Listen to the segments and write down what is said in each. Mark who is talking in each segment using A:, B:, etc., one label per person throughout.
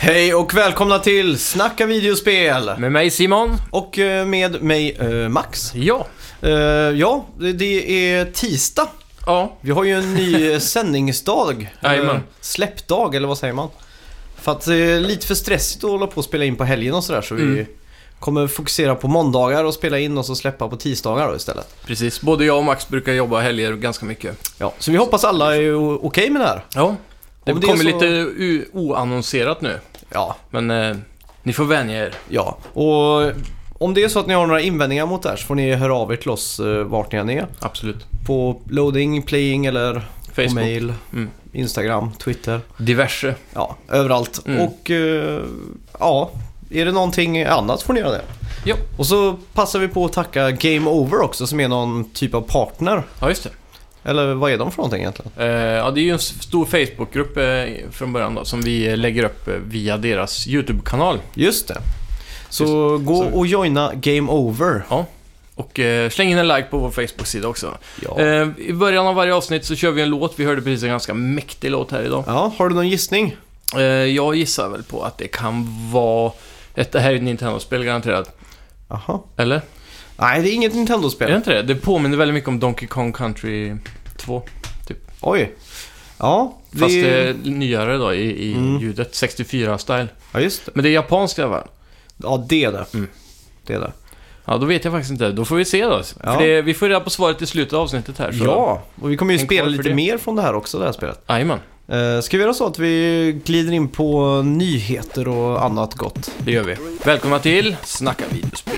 A: Hej och välkomna till Snacka videospel!
B: Med mig Simon.
A: Och eh, med mig eh, Max.
B: Ja.
A: Eh, Ja, det- det är tisdag.
B: Ja.
A: Vi har ju en ny eh, sändningsdag.
B: Jajamän.
A: Eh, Släppdag, eller vad säger man? För att det är lite för stressigt att hålla på och spela in på helgen och sådär så vi
B: Mm.
A: kommer fokusera på måndagar och spela in och så släppa på tisdagar då istället.
B: Precis, både jag och Max brukar jobba helger ganska mycket.
A: Ja, så vi hoppas alla är o- okej med det här.
B: Ja. Det,
A: Om det är
B: kommer
A: så-
B: lite u- oannonserat nu,
A: Ja,
B: men eh, ni får vänja er.
A: ja. Och om det är så att ni har några invändningar mot det här så får ni höra av er till oss eh, vart ni än är.
B: Absolut.
A: På loading, playing eller
B: Facebook.
A: på mail,
B: Mm.
A: Instagram, Twitter.
B: Diverse.
A: Ja, överallt.
B: Mm.
A: Och eh, ja, är det någonting annat får ni göra det.
B: Ja.
A: Och så passar vi på att tacka Game Over också som är någon typ av partner.
B: Ja, just det.
A: Eller vad är de för någonting egentligen?
B: Eh, ja, det är ju en s- stor Facebookgrupp eh, från början då, som vi eh, lägger upp eh, via deras YouTube-kanal.
A: Just det. Så gå
B: Så-
A: och joina Game Over.
B: Och eh, släng in en like på vår Facebook-sida också.
A: Ja.
B: Eh, I början av varje avsnitt så kör vi en låt. Vi hörde precis en ganska mäktig låt här idag.
A: ja, har du någon gissning?
B: Eh, jag gissar väl på att det kan vara... Ett, det här är ett Nintendo-spel garanterat.
A: Jaha.
B: Eller?
A: Nej, det är inget
B: Är det
A: Nintendo-spel.
B: inte det? Det påminner väldigt mycket om Donkey Kong Country 2.
A: Oj. Ja, det...
B: Fast det är nyare då i, i
A: Mm.
B: ljudet. 64-style.
A: ja, just det.
B: Men det är japanskt i alla fall.
A: Ja, det är det.
B: Mm.
A: Det är det.
B: Ja, då vet jag faktiskt inte. Då får vi se då.
A: Ja.
B: För det, vi får reda på svaret i slutet av avsnittet här. Så.
A: Ja, och vi kommer ju
B: Häng
A: spela
B: kvar för
A: lite
B: det.
A: mer från det här också, det här spelet.
B: Jajamän,
A: Eh, Ska vi göra så att vi glider in på nyheter och annat gott?
B: det gör vi. Välkomna till Snacka videospel.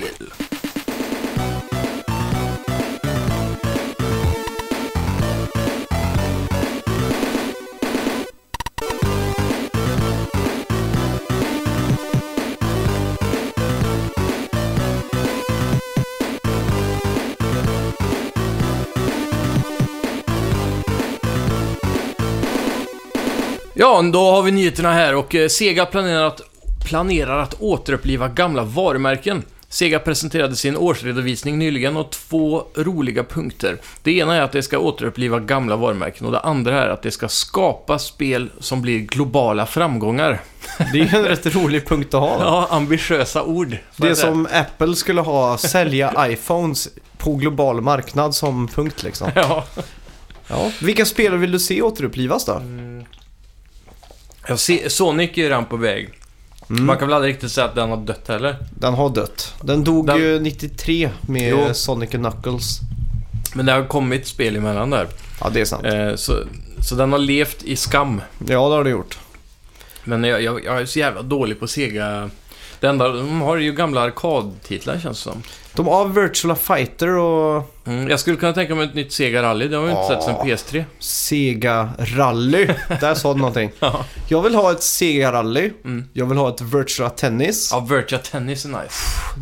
B: Ja, då har vi nyheterna här och eh, Sega planerar att, planerar att återuppliva gamla varumärken. Sega presenterade sin årsredovisning nyligen och två roliga punkter. Det ena är att det ska återuppliva gamla varumärken och det andra är att det ska skapa spel som blir globala framgångar.
A: Det är ju en rätt rolig punkt att ha.
B: Ja, ambitiösa ord. får
A: Det är
B: jag säga.
A: som Apple skulle ha, sälja iPhones på global marknad som punkt liksom.
B: Ja.
A: Ja. Vilka spel vill du se återupplivas då?
B: Jag ser, Sonic är ju redan på väg.
A: Mm.
B: Man kan väl aldrig riktigt säga att den har dött heller.
A: Den har dött. Den dog
B: Den-
A: ju 93 med
B: Jo.
A: Sonic Knuckles.
B: Men det har kommit spel emellan där.
A: Ja, det är sant.
B: Eh, så, så den har levt i skam.
A: Ja, det har det gjort.
B: Men jag, jag, jag är så jävla dålig på Sega. Det enda de har är ju gamla arkadtitlar känns det som.
A: De har Virtual Fighter och
B: Mm, jag skulle kunna tänka mig ett nytt Sega Rally. Det har vi inte
A: Ja.
B: sett sedan PS3.
A: Sega Rally. Där sa du någonting.
B: Ja.
A: Jag vill ha ett Sega Rally.
B: Mm.
A: Jag vill ha ett Virtual Tennis.
B: Ja, Virtua Tennis är nice.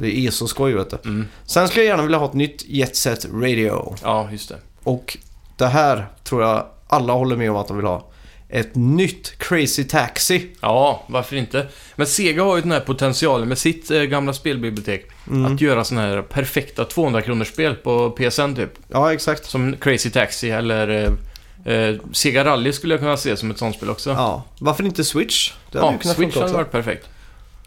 A: Det är så skoj vet du.
B: Mm.
A: Sen skulle jag gärna vilja ha ett nytt Jet Set Radio.
B: Ja, just det.
A: Och det här tror jag alla håller med om att de vill ha. Ett nytt Crazy Taxi.
B: Ja, varför inte? Men Sega har ju den här potentialen med sitt eh, gamla spelbibliotek.
A: Mm.
B: Att göra såna här perfekta 200-kronorsspel på PSN typ.
A: Ja, exakt.
B: Som Crazy Taxi eller eh, eh, Sega Rally skulle jag kunna se som ett sånt spel också. Ja,
A: Ja, varför inte Switch? Det hade ju kunnat
B: Switch
A: funka
B: hade
A: också.
B: varit perfekt.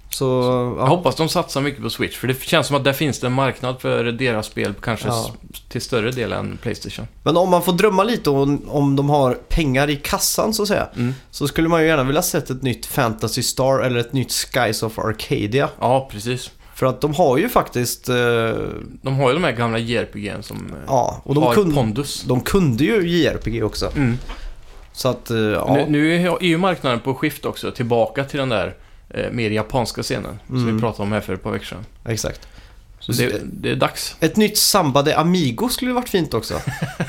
A: Så,
B: Jag
A: ja.
B: hoppas de satsar mycket på Switch, för det känns som att där finns det en marknad för deras spel, kanske
A: Ja.
B: s- till större del än Playstation.
A: Men om man får drömma lite om, om de har pengar i kassan så att säga.
B: Mm.
A: Så skulle man ju gärna vilja sett ett nytt Fantasy Star eller ett nytt Skies of Arcadia.
B: Ja, precis.
A: För att de har ju faktiskt... Eh,
B: De har ju de här gamla JRPG'n som eh,
A: ja, och de
B: har
A: kunde,
B: pondus.
A: de kunde ju JRPG också.
B: Mm.
A: Så att, eh, ja.
B: Nu, nu är ju marknaden på skift också, tillbaka till den där eh, mer japanska scenen som
A: Mm.
B: vi pratade om här för ett par veckor sedan.
A: Exakt.
B: Så
A: Så-
B: det, det är dags.
A: Ett nytt Samba de Amigo skulle ju varit fint också.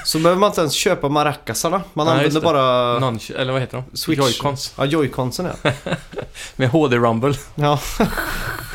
A: Så behöver man inte ens köpa maracasarna. Man
B: Nej,
A: använder
B: just det.
A: bara
B: Nunch, eller vad heter de?
A: Switch.
B: Joy-Cons.
A: ja, joyconsen ja.
B: Med HD Rumble.
A: ja.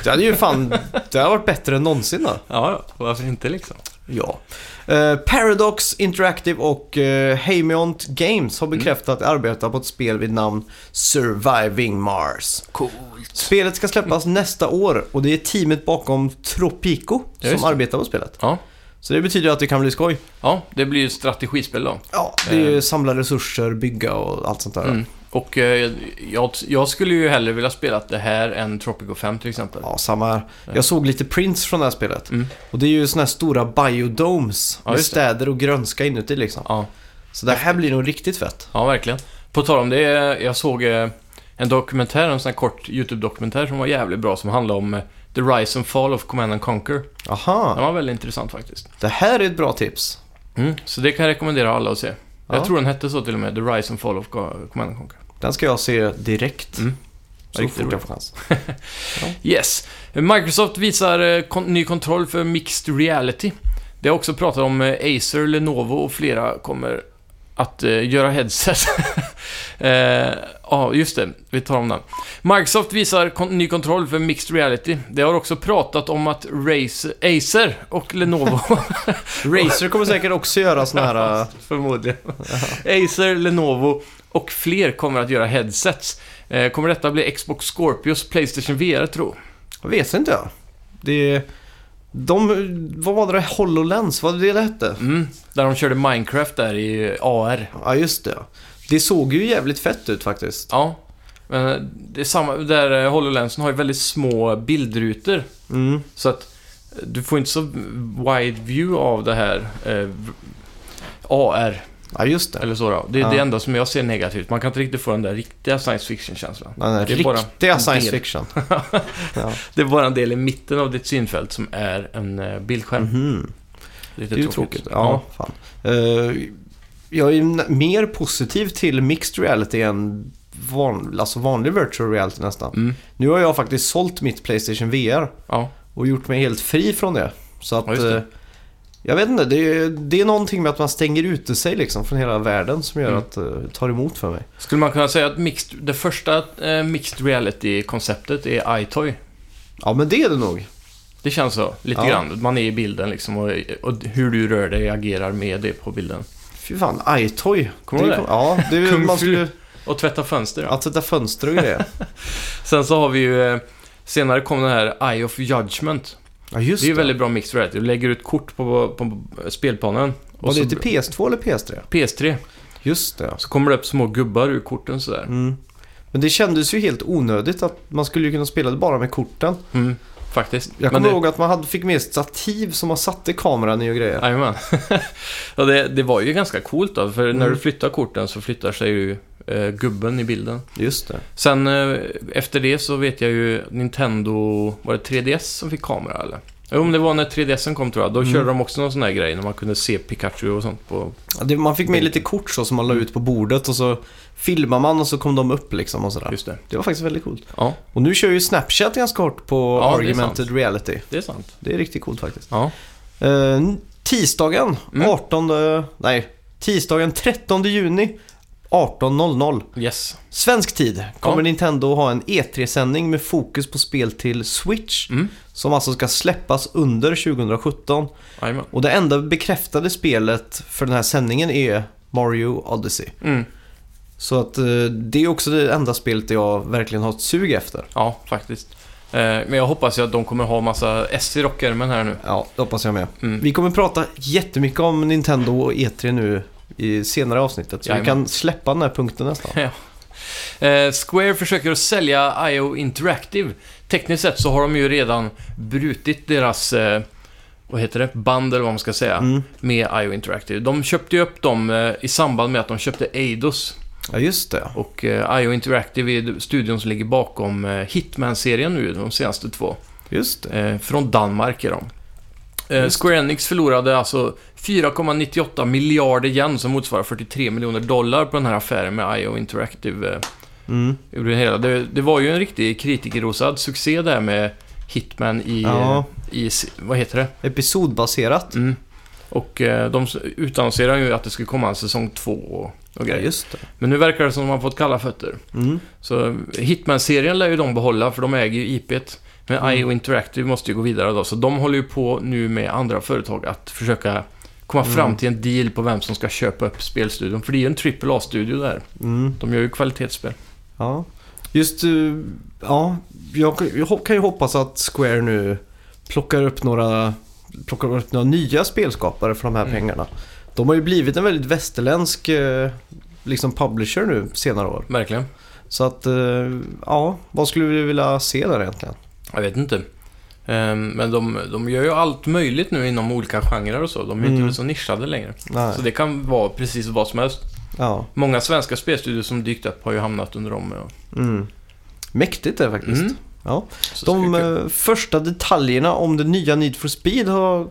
A: Det hade ju fan... Det hade varit bättre än någonsin då.
B: Ja, varför inte liksom?
A: Ja. Eh, Paradox Interactive och uh, Haymiont Games har
B: Mm.
A: bekräftat att arbeta på ett spel vid namn Surviving Mars.
B: Coolt.
A: Spelet ska släppas nästa år och det är teamet bakom Tropico
B: Ja, just
A: som
B: det.
A: arbetar på spelet.
B: Ja.
A: Så det betyder att det kan bli skoj.
B: ja, det blir ju ett strategispel då.
A: Ja, det är ju samla resurser, bygga och allt sånt där.
B: Mm. Och eh, jag, jag skulle ju hellre vilja spela det här än Tropico 5 till exempel.
A: Ja, samma här. Jag såg lite prints från det här spelet.
B: Mm.
A: Och det är ju såna här stora biodomes
B: Ja,
A: med
B: just det.
A: städer och grönska inuti liksom.
B: Ja,
A: Så det här blir nog riktigt fett.
B: ja verkligen. På tal om det, eh, jag såg eh, en dokumentär, en sån här kort YouTube-dokumentär som var jävligt bra som handlade om eh, The Rise and Fall of Command and Conquer. Den
A: Aha,
B: var väldigt intressant faktiskt.
A: det här är ett bra tips.
B: Mm, så det kan jag rekommendera alla att se.
A: Ja.
B: Jag tror den hette så till och med, The Rise and Fall of Co- Command and Conquer.
A: Den ska jag se direkt.
B: Mm.
A: Så
B: Riktigt
A: fort
B: bra.
A: jag får chans.
B: Yes. Microsoft visar eh, kon- ny kontroll för mixed reality. Det har också pratat om eh, Acer, Lenovo och flera kommer att eh, göra headset. Eh, Ja, just det. Vi tar om den. Microsoft visar kon- ny kontroll för mixed reality. Det har också pratat om att Razer, Acer och Lenovo...
A: Razer kommer säkert också göra såna här... äh,
B: Förmodligen. Acer, Lenovo och fler kommer att göra headsets. Eh, Kommer detta bli Xbox Scorpios Playstation VR, tro?
A: Jag vet inte jag. Det... De... Vad var det? HoloLens? Vad var det det hette?
B: Mm, där de körde Minecraft där i AR.
A: Ja, just det. Det såg ju jävligt fett ut faktiskt.
B: Ja. Men eh, det är samma, där eh, HoloLensen har ju väldigt små bildrutor.
A: Mm.
B: Så att eh, du får inte så wide view av det här eh, AR
A: Ja, just det.
B: eller så då. Det är
A: Ja.
B: det enda som jag ser negativt. Man kan inte riktigt få den där riktiga science fiction-känslan.
A: Den här
B: Det är bara
A: riktiga
B: en
A: science
B: del.
A: fiction. ja.
B: Det är bara en del i mitten av ditt synfält som är en eh, bildskärm.
A: Mhm.
B: Lite
A: Det är ju tråkigt. Ja, fan. Eh, jag är ju n- mer positiv till mixed reality än van, alltså vanlig virtual reality nästan.
B: Ja. Mm.
A: Nu har jag faktiskt sålt mitt Playstation VR
B: ja.
A: och gjort mig helt fri från det. Så att...
B: Ja, just det.
A: eh, jag vet inte, det är, det är någonting med att man stänger ute sig liksom från hela världen som gör
B: Mm.
A: att det tar emot för mig.
B: Skulle man kunna säga att mixed, det första eh, mixed reality-konceptet är iToy?
A: Ja, men det är det nog.
B: Det känns så, lite
A: Ja.
B: grann. Man är i bilden liksom och, och hur du rör dig agerar med det på bilden.
A: Fy fan, iToy.
B: Kommer du ihåg
A: kom-
B: det?
A: Ja, det är,
B: Kung
A: man
B: Fu.
A: skulle...
B: Och tvätta fönster, ja.
A: Att sätta fönster och grejer.
B: Sen så har vi ju... eh, Senare kom den här Eye of Judgment.
A: Ja, just
B: Det är ju väldigt bra mixed reality. Du lägger ut kort på, på, spelplanen.
A: Var
B: så
A: det typ- till PS2 eller PS3?
B: PS3.
A: Just det.
B: Så kommer det upp små gubbar ur korten sådär.
A: Mm. Men det kändes ju helt onödigt att man skulle ju kunna spela det bara med korten.
B: Mm, faktiskt.
A: Jag
B: Men
A: kommer
B: det-
A: ihåg att man hade, fick med stativ som man satte kameran i och grejer.
B: Jajamän. ja, det, det var ju ganska coolt då, för när
A: Mm.
B: du flyttar korten så flyttar sig ju eh, gubben i bilden.
A: Just det.
B: Sen eh, efter det så vet jag ju Nintendo, var det 3DS som fick kamera eller? Jo, men det var när 3DSen kom tror jag. Då
A: Mm.
B: körde de också någon sån här grej när man kunde se Pikachu och sånt på...
A: Ja, det. Man fick med lite kort så som man la ut på bordet och så filmar man och så kom de upp liksom och sådär.
B: Just det.
A: Det var faktiskt väldigt coolt.
B: Ja,
A: Och nu kör ju Snapchat ganska hårt på
B: Ja, det är
A: augmented reality.
B: det är sant.
A: Det är riktigt coolt faktiskt.
B: Ja.
A: Eh, tisdagen
B: Mm.
A: 18... Nej, tisdagen 13 juni 18.00.
B: Yes.
A: Svensk tid kommer
B: Ja.
A: Nintendo ha en E3-sändning med fokus på spel till Switch
B: Mm.
A: som alltså ska släppas under 2017.
B: Jajamän.
A: Och det enda bekräftade spelet för den här sändningen är Mario Odyssey.
B: Mm.
A: Så att eh, det är också det enda spelet jag verkligen har ett sug efter.
B: Ja, faktiskt. Eh, men jag hoppas ju att de kommer ha massa S i rockärmen här nu.
A: Ja, det hoppas jag med.
B: Mm.
A: Vi kommer prata jättemycket om Nintendo och E3 nu i senare avsnittet. Så vi
B: Jajamän.
A: kan släppa den här punkten nästan.
B: Eh, Square försöker att sälja IO Interactive. Tekniskt sett så har de ju redan brutit deras, eh, vad heter det, band eller vad man ska säga,
A: Mm.
B: med IO Interactive. De köpte ju upp dem eh, i samband med att de köpte Eidos.
A: Ja, just det.
B: Och eh, IO Interactive är studion som ligger bakom eh, Hitman-serien nu, de senaste två.
A: Just det.
B: Eh, från Danmark är de. Eh,
A: Just
B: Square Enix förlorade alltså 4,98 miljarder yen, som motsvarar 43 miljoner dollar på den här affären med IO Interactive. Eh,
A: Mm.
B: gjorde det, hela. Det, det var ju en riktig kritikerrosad succé där med Hitman i, eh,
A: Ja,
B: i vad heter det?
A: episodbaserat.
B: Mm. Och eh, de s- utannonserade ju att det skulle komma en säsong två och, och
A: Ja,
B: grejer.
A: just det.
B: Men nu verkar det som att de har fått kalla fötter.
A: Mm.
B: Så Hitman-serien lär ju de behålla, för de äger ju IP't. Men
A: Mm.
B: IO Interactive måste ju gå vidare då, så de håller ju på nu med andra företag att försöka komma fram
A: Mm.
B: till en deal på vem som ska köpa upp spelstudion. För det är ju en AAA-studio där.
A: Mm.
B: De gör ju kvalitetsspel.
A: Ja, just eh, ja, jag, jag hop- kan ju hoppas att Square nu plockar upp några, plockar upp några nya spelskapare för de här
B: Mm.
A: pengarna. De har ju blivit en väldigt västerländsk eh, liksom publisher nu senare år.
B: Verkligen.
A: Så att, eh, ja, vad skulle vi vilja se där egentligen?
B: Jag vet inte. Ehm, Men de, de gör ju allt möjligt nu inom olika genrer och så. De är ju
A: Mm.
B: inte så nischade längre.
A: Nej.
B: Så det kan vara precis vad som helst.
A: Ja,
B: Många svenska spelstudios som dykt upp har ju hamnat under dem. Ja.
A: mm. Mäktigt det faktiskt.
B: Mm.
A: Ja.
B: Så
A: De
B: ska vi-
A: eh, första detaljerna om det nya Need for Speed har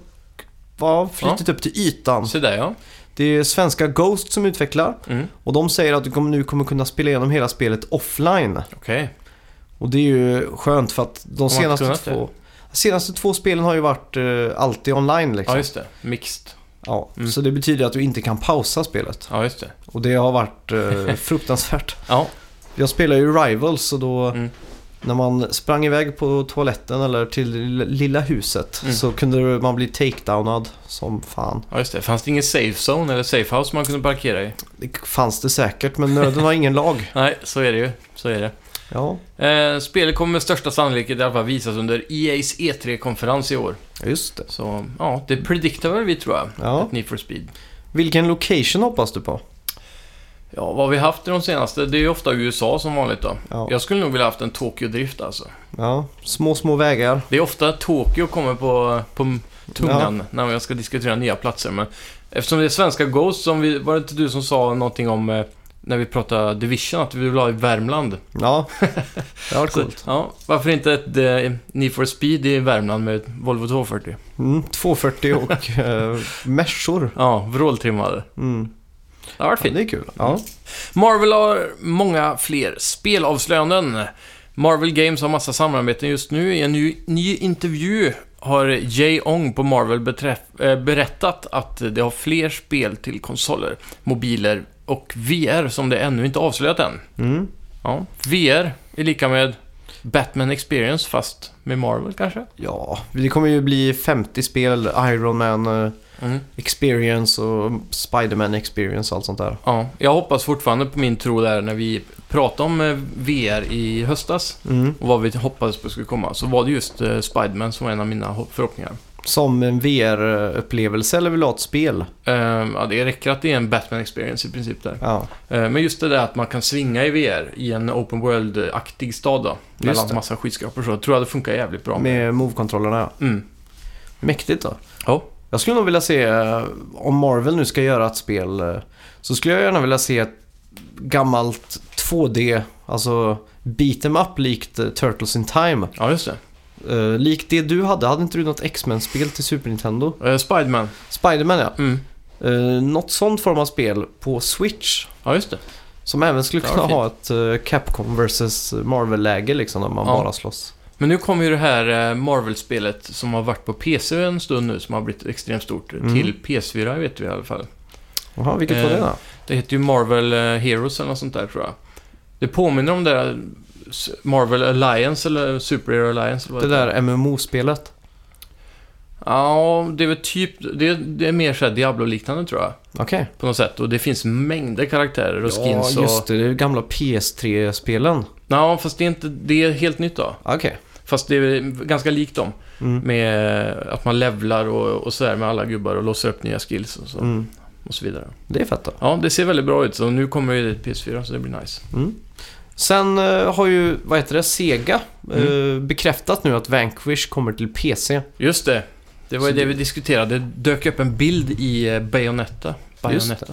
A: va, flyttit upp till ytan.
B: Se där ja.
A: Det är svenska Ghost som utvecklar
B: Mm.
A: och de säger att du kommer- nu kommer kunna spela igenom hela spelet offline.
B: Okej.
A: Och det är ju skönt för att de
B: inte
A: senaste
B: kunnat det?
A: två, senaste två spelen har ju varit eh, alltid online liksom.
B: Ja,
A: Ja,
B: just det. Mixed. Mm.
A: Så det betyder att du inte kan pausa spelet.
B: Ja, just det.
A: Och det har varit eh, fruktansvärt.
B: Ja,
A: Jag spelar ju Rivals och då
B: Mm.
A: när man sprang iväg på toaletten eller till det lilla- lilla huset
B: Mm.
A: så kunde man bli takedownad som fan.
B: ja, just det. Fanns det ingen safe zone eller safe house man kunde parkera i?
A: Det fanns det säkert men nöden har ingen lag.
B: Nej, så är det ju. Så är det.
A: Ja,
B: Eh, spelet kommer med största sannolikhet i alla fall visas under E EA's E3-konferens i år.
A: just det.
B: Så, ja, det prediktar väl vi tror jag.
A: Ja.
B: Ett Need for Speed.
A: Vilken location hoppas du på?
B: Ja, vad har vi haft i de senaste? Det är ju ofta USA som vanligt då.
A: Ja,
B: Jag skulle nog vilja haft en Tokyo-drift alltså.
A: ja. små, små vägar.
B: Det är ofta Tokyo kommer på, på tungan när jag ska diskutera nya platser. Men eftersom det är svenska Ghost, som vi, var det inte du som sa någonting om eh, när vi pratade Division, att vi vill ha i Värmland?
A: Ja, det har varit
B: Så,
A: coolt.
B: ja, varför inte ett eh, Need for Speed i Värmland med Volvo 240?
A: Mm, 240 och eh, meshor.
B: Ja, vråltrimmade.
A: Mm.
B: Det har varit
A: Ja,
B: fint.
A: det är kul. Ja.
B: Marvel har många fler spelavslöjanden. Marvel Games har massa samarbeten just nu. I en ny, ny intervju har Jay Ong på Marvel beträff, eh, berättat att det har fler spel till konsoler, mobiler och VR som det ännu inte avslöjat än.
A: Mm.
B: Ja, VR är lika med Batman Experience fast med Marvel kanske?
A: ja, det kommer ju bli 50 spel, Iron Man eh,
B: Mm.
A: experience och Spider-Man experience och allt sånt där.
B: Ja, jag hoppas fortfarande på min tro där när vi pratade om eh, VR i höstas.
A: Mm.
B: och vad vi hoppades på skulle komma så var det just eh, Spiderman som var en av mina hopp- förhoppningar.
A: Som en VR-upplevelse eller vill du ha ett spel?
B: Eh, ja, det räcker att det är en Batman experience i princip där.
A: Ja,
B: Eh, men just det där att man kan svinga i VR i en open world-aktig stad då.
A: det.
B: Mellan massa skyskrapor och så. Tror jag det funkar jävligt bra. Med...
A: med Move-kontrollerna ja.
B: Mm.
A: Mäktigt då.
B: Ja.
A: Jag skulle nog vilja se, eh, om Marvel nu ska göra ett spel, eh, så skulle jag gärna vilja se ett gammalt 2D, alltså beat em up likt eh, Turtles in Time.
B: ja, just det.
A: Eh, likt det du hade, hade inte du något X-Men-spel till Super Nintendo?
B: Eh, Spiderman.
A: Spiderman ja.
B: Mm.
A: Uh, något sånt form av spel på Switch.
B: Ja, just det.
A: Som även skulle
B: Det var
A: kunna ha ett eh, Capcom vs Marvel-läge liksom, där man
B: Ja.
A: bara slåss.
B: Men nu kommer ju det här eh, Marvel-spelet som har varit på PC en stund nu, som har blivit extremt stort.
A: Mm.
B: Till PS4 vet vi i alla fall.
A: Jaha, vilket var det
B: Eh,
A: då?
B: Det heter ju Marvel eh, Heroes eller något sånt där tror jag. Det påminner om det där S- Marvel Alliance eller Superhero Alliance. Eller vad
A: Det
B: heter.
A: där MMO-spelet?
B: Ja, det är väl typ... Det, det är mer såhär Diablo-liknande tror jag.
A: Okej.
B: På något sätt. Och det finns mängder karaktärer och skins
A: Ja,
B: och...
A: just det. Det är gamla PS3-spelen.
B: Ja, fast det är inte... Det är helt nytt då.
A: Okej.
B: Fast det är ganska likt dem.
A: Mm.
B: Med att man levlar och, och sådär med alla gubbar och låser upp nya skills och så,
A: Mm.
B: och så vidare.
A: Det är fett då.
B: Ja, det ser väldigt bra ut. Så nu kommer ju det till PS4 så det blir nice.
A: Mm. Sen eh, har ju, vad heter det, Sega eh, bekräftat nu att Vanquish kommer till PC.
B: Just det. Det var ju
A: Så
B: det
A: det-
B: vi diskuterade. Det dök upp en bild i eh, Bayonetta.
A: Just
B: Bayonetta.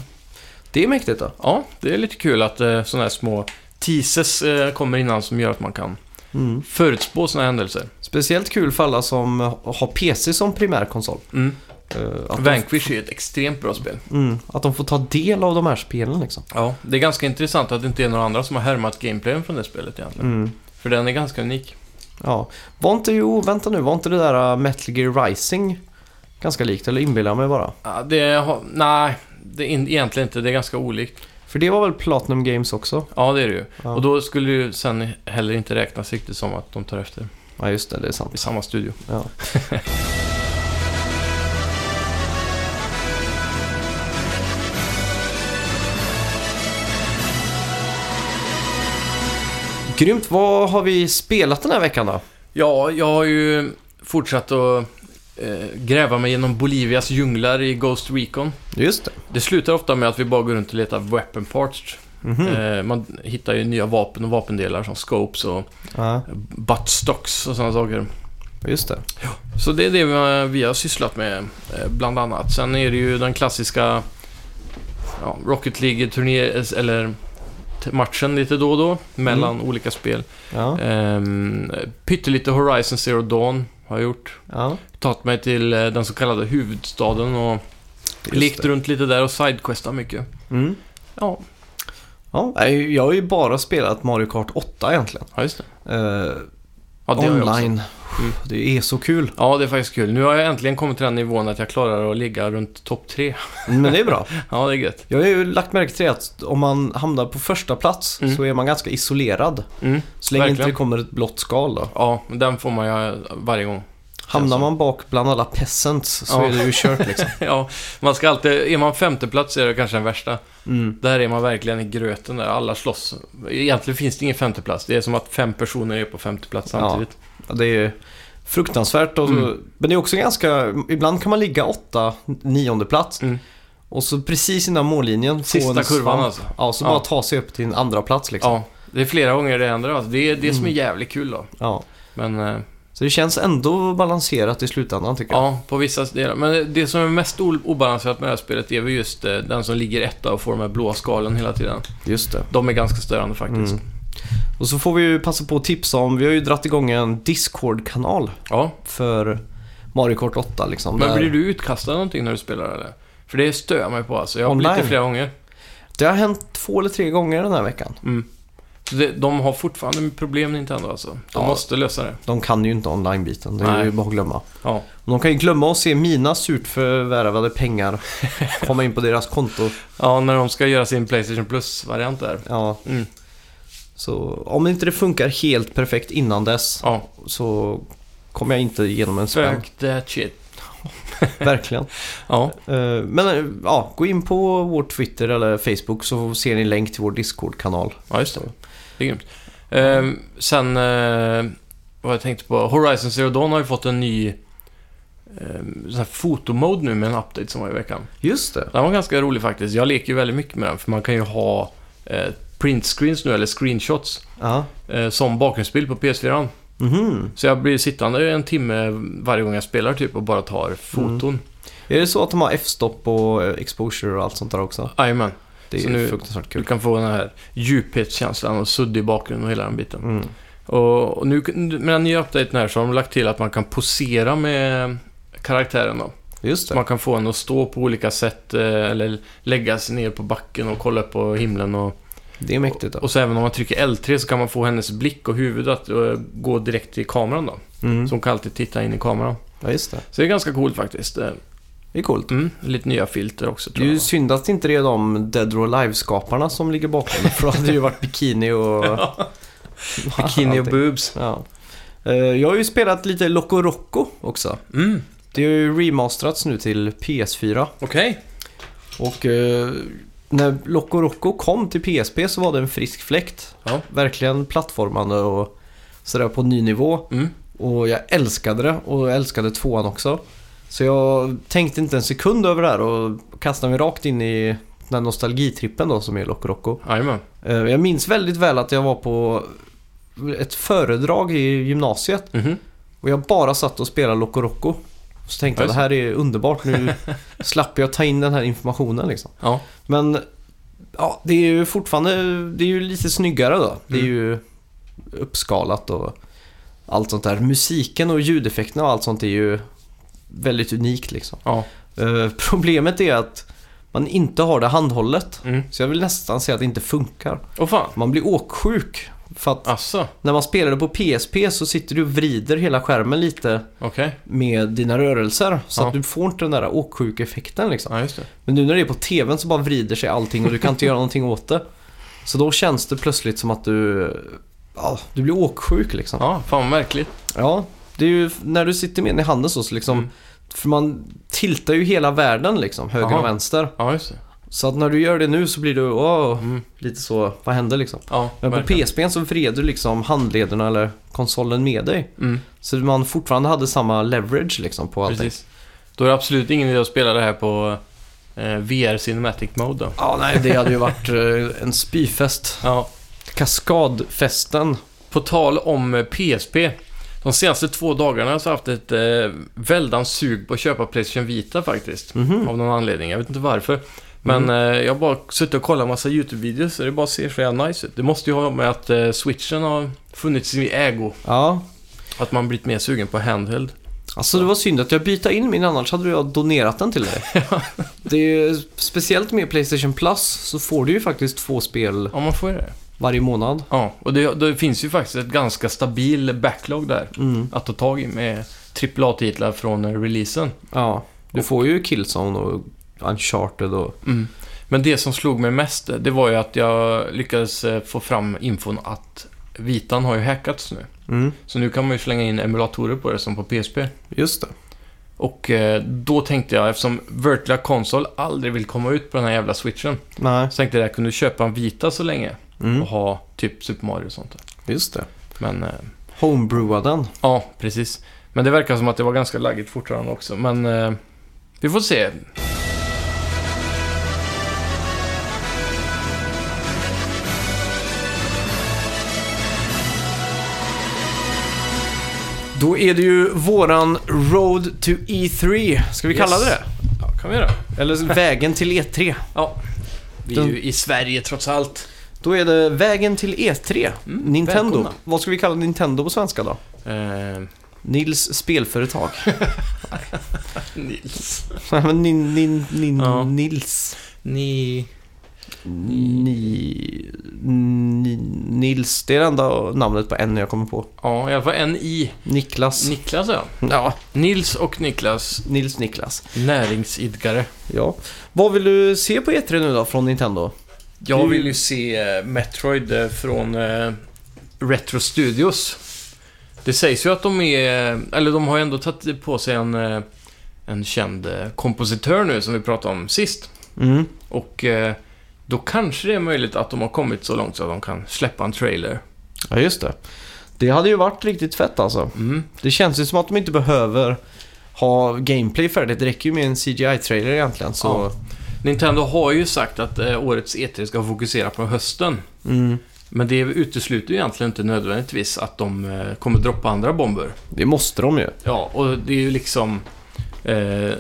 A: Det är mäktigt då.
B: Ja, det är lite kul att eh, sådana här små teases eh, kommer innan som gör att man kan
A: Mm.
B: förutspå sådana händelser.
A: Speciellt kul för alla som har PC som primärkonsol.
B: Mm.
A: Eh, att, de,
B: Vanquish är ett extremt bra spel.
A: mm, att de får ta del av de här spelen liksom.
B: Ja, det är ganska intressant att det inte är några andra som har härmat gameplayen från det spelet egentligen.
A: Mm.
B: För den är ganska unik.
A: Ja, var inte, jo vänta nu, var inte det där äh, Metal Gear Rising ganska likt? Eller inbillar jag mig bara?
B: Ja, det har, nej, det är in, egentligen inte. Det är ganska olikt.
A: För det var väl Platinum Games också?
B: Ja, det är det ju.
A: Ja.
B: Och då skulle det ju sen heller inte räknas riktigt som att de tar efter
A: Ja just det, det är
B: i
A: sant.
B: samma studio.
A: Ja. Grymt, vad har vi spelat den här veckan då?
B: Ja, jag har ju fortsatt att eh, gräva mig genom Bolivias djunglar i Ghost Recon.
A: Just det.
B: Det slutar ofta med att vi bara går runt och letar weapon parts.
A: Mhm.
B: Eh, man hittar ju nya vapen och vapendelar som scopes och
A: Ja,
B: buttstocks och sådana saker.
A: just det.
B: Så det är det vi- vi har sysslat med eh, bland annat. Sen är det ju den klassiska ja, Rocket League-turné eller t- matchen lite då och då mellan olika spel.
A: Mm. Ja,
B: Ehm, pyttelite Horizon Zero Dawn har jag gjort.
A: ja.
B: Tagit mig till eh, den så kallade huvudstaden och
A: Just
B: lekt
A: det.
B: runt lite där och sidequestat mycket.
A: Mm.
B: Ja,
A: Ja, nej, jag har ju bara spelat Mario Kart 8 egentligen.
B: ja just det.
A: Eh,
B: Ja, det har jag också.
A: online.
B: Mm.
A: Det är så kul.
B: Ja, det är faktiskt kul. Nu har jag äntligen kommit till den nivån att jag klarar att ligga runt topp tre.
A: Men det är bra.
B: Ja, det är gött.
A: Jag har ju lagt märke till att om man hamnar på första plats
B: Mm.
A: så är man ganska isolerad.
B: Mm.
A: Så länge
B: Verkligen.
A: inte det kommer ett blått skal då.
B: Ja, men den får man ju varje gång.
A: Hamnar
B: Alltså.
A: man bak bland alla peasants så
B: Ja.
A: är det ju kört liksom.
B: ja, man ska alltid... Är man femteplats är det kanske den värsta.
A: Mm.
B: Där är man verkligen i gröten där. Alla slåss. Egentligen finns det ingen femteplats. Det är som att fem personer är på femteplats
A: Ja.
B: samtidigt.
A: Ja, Det är ju fruktansvärt. Och så,
B: Mm.
A: Men det är också ganska, ibland kan man ligga åtta, nionde plats
B: Mm.
A: och så precis innan mållinjen få
B: Sista
A: en
B: kurvan
A: svamp.
B: alltså.
A: Ja, så
B: Ja.
A: bara ta sig upp till en andra plats liksom.
B: Ja, det är flera gånger det händer. Alltså. Det är det som är jävligt kul då.
A: Ja.
B: Men, eh,
A: Så det känns ändå balanserat i slutändan tycker jag.
B: ja, på vissa delar. Men det som är mest o- obalanserat med det här spelet är väl just eh, den som ligger etta och får de här blåa skalen hela tiden.
A: Just det.
B: De är ganska störande faktiskt.
A: Mm. Och så får vi ju passa på att tipsa om, vi har ju dratt igång en Discord-kanal
B: Ja,
A: för Mario Kart 8 liksom.
B: men
A: där-
B: blir du utkastad någonting när du spelar eller? För det stör jag mig på alltså. Jag har
A: Online?
B: blivit det flera gånger.
A: Det har hänt två eller tre gånger den här veckan.
B: Mm. Så det, de har fortfarande problem Nintendo alltså. De
A: Ja.
B: måste lösa det.
A: De kan ju inte online-biten, det är
B: Nej.
A: ju bara att glömma.
B: Ja.
A: De kan ju glömma att se mina surt förvärvade pengar komma in på deras konto.
B: ja, när de ska göra sin Playstation Plus-variant där.
A: Ja,
B: Mm.
A: så om inte det funkar helt perfekt innan dess
B: Ja,
A: så kommer jag inte igenom en spänn.
B: fuck that shit.
A: Verkligen.
B: Ja,
A: Eh, Men eh, ja, gå in på vår Twitter eller Facebook så ser ni en länk till vår Discord-kanal.
B: ja just det. Det är grymt. Ehm, sen, eh, vad jag tänkte på. Horizon Zero Dawn har ju fått en ny ehm, sån här fotomode nu med en update som var i veckan.
A: Just det.
B: Den var ganska rolig faktiskt. Jag leker ju väldigt mycket med den, för man kan ju ha eh, printscreens nu, eller screenshots,
A: Ja.
B: eh, som bakgrundsbild på PS4.
A: Mhm.
B: Så jag blir sittande en timme varje gång jag spelar typ och bara tar foton.
A: Är det så att de har F-stopp och eh, exposure och allt sånt där också?
B: Jajamän.
A: Det
B: Så
A: är
B: nu-
A: fruktansvärt
B: Du
A: kul.
B: kan få den här djupetskänslan och suddig bakgrund och hela den biten.
A: Mm.
B: Och och nu, med den nya updaten här så har de lagt till att man kan posera med karaktären då.
A: Just
B: Så
A: det.
B: man kan få den att stå på olika sätt eh, eller lägga sig ner på backen och kolla upp på himlen och
A: Det är mäktigt. Då.
B: Och så även om man trycker L3 så kan man få hennes blick och huvud att eh, gå direkt till kameran då.
A: Mm.
B: Så hon kan alltid titta in i kameran.
A: Ja, just det.
B: Så det är ganska coolt faktiskt. Eh,
A: Det är coolt.
B: Mm, lite nya filter också
A: Det är
B: tror
A: ju
B: jag.
A: synd att det inte är de Dead or Alive-skaparna som ligger bakom. För då hade det ju varit bikini och...
B: Bikini och
A: allting.
B: boobs.
A: Ja. Eh, Jag har ju spelat lite Loco Roco också.
B: Mm,
A: Det har ju remasterats nu till PS4.
B: okej.
A: Och eh, när Loco Roco kom till PSP så var det en frisk fläkt.
B: Ja.
A: Verkligen plattformande och sådär på ny nivå.
B: Mm.
A: Och jag älskade det och jag älskade tvåan också. Så jag tänkte inte en sekund över det här och kastade mig rakt in i den här nostalgitrippen då som är Loco Roco.
B: Jajamän.
A: Eh, Jag minns väldigt väl att jag var på ett föredrag i gymnasiet
B: Mhm.
A: och jag bara satt och spelade Loco Roco. Så tänkte jag
B: Ja,
A: det här är underbart, nu slapp jag ta in den här informationen liksom.
B: Ja.
A: Men ja, det är ju fortfarande, det är ju lite snyggare då. Det är
B: Mm.
A: ju uppskalat och allt sånt där. Musiken och ljudeffekterna och allt sånt är ju väldigt unikt liksom.
B: Ja.
A: Eh, problemet är att man inte har det handhållet.
B: Mm.
A: Så jag vill nästan säga att det inte funkar.
B: Och fan.
A: Man blir åksjuk. För att
B: Asså.
A: när man spelade på PSP så sitter du och vrider hela skärmen lite
B: Okej.
A: med dina rörelser. Så
B: Ja.
A: att du får inte den där åksjuk-effekten liksom.
B: Ja, just det.
A: Men nu när det är på TVn så bara vrider sig allting och du kan inte göra någonting åt det. Så då känns det plötsligt som att du... Ja, du blir åksjuk liksom.
B: Ja, fan vad märkligt.
A: Ja, det är ju när du sitter med den i handen så, så liksom...
B: Mm.
A: För man tiltar ju hela världen liksom, höger
B: Aha.
A: och vänster.
B: Ja, just det.
A: Så att när du gör det nu så blir du åh,
B: Mm.
A: lite så, vad händer liksom?
B: Ja,
A: Men på
B: verkligen.
A: PSP så vred du liksom handlederna eller konsolen med dig.
B: Mm,
A: Så man fortfarande hade samma leverage liksom på allting.
B: precis. Då är det absolut ingen idé att spela det här på eh, VR Cinematic Mode då.
A: Ja, nej, det hade ju varit eh, en spyfest.
B: Ja.
A: Kaskadfesten.
B: På tal om eh, PSP. De senaste två dagarna så har jag haft ett eh, väldans sug på att köpa Playstation Vita faktiskt.
A: Mhm.
B: Av någon anledning, jag vet inte varför. Men eh, jag har bara suttit och kollat massa YouTube-videos så det bara ser så jävla nice ut. Det måste ju ha med att eh, switchen har funnits i ägo.
A: Ja.
B: Att man blivit mer sugen på handheld.
A: Alltså det var synd att jag bytte in min annars hade jag donerat den till dig. det är ju, speciellt med Playstation Plus så får du ju faktiskt två spel
B: Ja, man får ju det.
A: varje månad.
B: Ja, och det, det finns ju faktiskt ett ganska stabil backlog där.
A: Mm.
B: Att ta tag i med AAA-titlar från eh, releasen.
A: Ja, du får ju Killzone och Uncharted och...
B: Mm. Men det som slog mig mest, det var ju att jag lyckades eh, få fram infon att Vitan har ju hackats nu.
A: Mm.
B: Så nu kan man ju slänga in emulatorer på det som på PSP.
A: Just det.
B: Och eh, då tänkte jag, eftersom Virtual Console aldrig vill komma ut på den här jävla switchen.
A: Nej.
B: Så tänkte jag, kunde du köpa en Vita så länge
A: Mm.
B: och ha typ Super Mario och sånt där.
A: Just det.
B: Men, eh,
A: Homebrewa den.
B: ja, precis. Men det verkar som att det var ganska laggigt fortfarande också. Men eh, vi får se.
A: Då är det ju våran Road to E3. Ska vi
B: Yes.
A: kalla det det
B: Ja, kan vi göra.
A: Eller Vägen till E E3.
B: Ja. Vi är ju i Sverige trots allt.
A: Då är det Vägen till E3.
B: Mm,
A: Nintendo.
B: välkomna.
A: Vad ska vi kalla Nintendo på svenska då?
B: Eh,
A: Nils spelföretag.
B: Nils.
A: Nej, men nin, nin, nin,
B: Ja.
A: Nils.
B: Ni...
A: Ni, ni, Nils, det är det enda namnet på en jag kommer på.
B: Ja, i alla fall en i.
A: Niklas.
B: Niklas ja.
A: ja,
B: Nils och Niklas,
A: Nils Niklas.
B: näringsidkare.
A: Ja. Vad vill du se på E3 nu då från Nintendo?
B: Jag vill ju se eh, Metroid eh, från eh, Retro Studios. Det sägs ju att de är... Eller de har ju ändå tagit på sig en, eh, en känd eh, kompositör nu som vi pratade om sist.
A: Mm.
B: Och eh, då kanske det är möjligt att de har kommit så långt så att de kan släppa en trailer.
A: Ja, just det. Det hade ju varit riktigt fett alltså.
B: Mm.
A: Det känns ju som att de inte behöver ha gameplay färdigt. Det räcker ju med en CGI-trailer egentligen. Så...
B: Ja. Nintendo har ju sagt att eh, årets E3 ska fokusera på hösten.
A: Mm.
B: Men det utesluter ju egentligen inte nödvändigtvis att de eh, kommer droppa andra bomber.
A: Det måste de ju.
B: Ja, och det är ju liksom eh,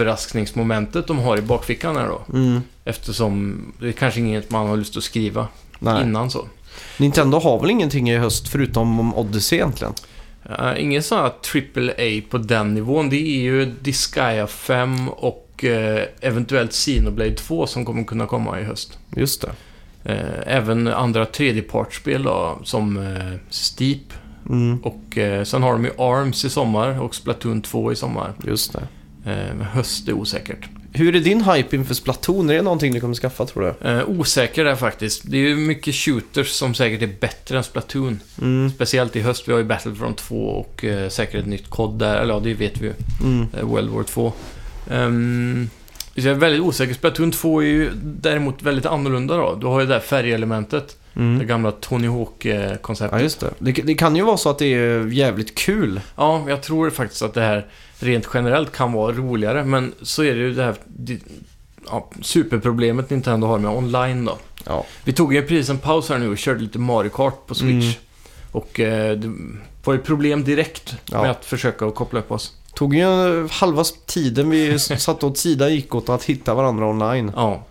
B: överraskningsmomentet de har i bakfickan här då.
A: Mm.
B: Eftersom det är kanske inget man har lust att skriva
A: Nej.
B: innan så.
A: Nintendo har väl ingenting i höst förutom om Odyssey egentligen?
B: Uh, ingen sån här AAA på den nivån. Det är ju Disgaea 5 och eh, eventuellt Xenoblade 2 som kommer kunna komma i höst.
A: Just det.
B: Eh, även andra tredjepartsspel då, som eh, Steep.
A: Mm.
B: Och eh, sen har de ju Arms i sommar och Splatoon 2 i sommar.
A: Just det.
B: Eh, men höst är osäkert.
A: Hur är din hype inför Splatoon? Är det någonting du kommer skaffa tror du?
B: Eh, osäker där faktiskt. Det är ju mycket shooters som säkert är bättre än Splatoon.
A: Mm.
B: Speciellt i höst. Vi har ju Battlefront 2 och eh, säkert ett nytt kod där. Eller ja, det vet vi ju.
A: Mm.
B: Eh, World War 2. Ehm, så jag är väldigt osäker. Splatoon 2 är ju däremot väldigt annorlunda då. Du har ju det där färgelementet. Det
A: Mm.
B: gamla Tony
A: Ja,
B: Hawk-konceptet.
A: just det. det. Det kan ju vara så att det är jävligt kul.
B: Ja, jag tror faktiskt att det här rent generellt kan vara roligare. Men så är det ju det här di- ja, superproblemet Nintendo har med online då.
A: Ja.
B: Vi tog ju precis en paus här nu och körde lite Mario Kart på Switch.
A: Mm.
B: Och eh, det var ju problem direkt
A: Ja.
B: med att försöka att koppla upp oss.
A: Tog ju halva tiden vi s- satt åt sidan gick åt att hitta varandra online.
B: Ja.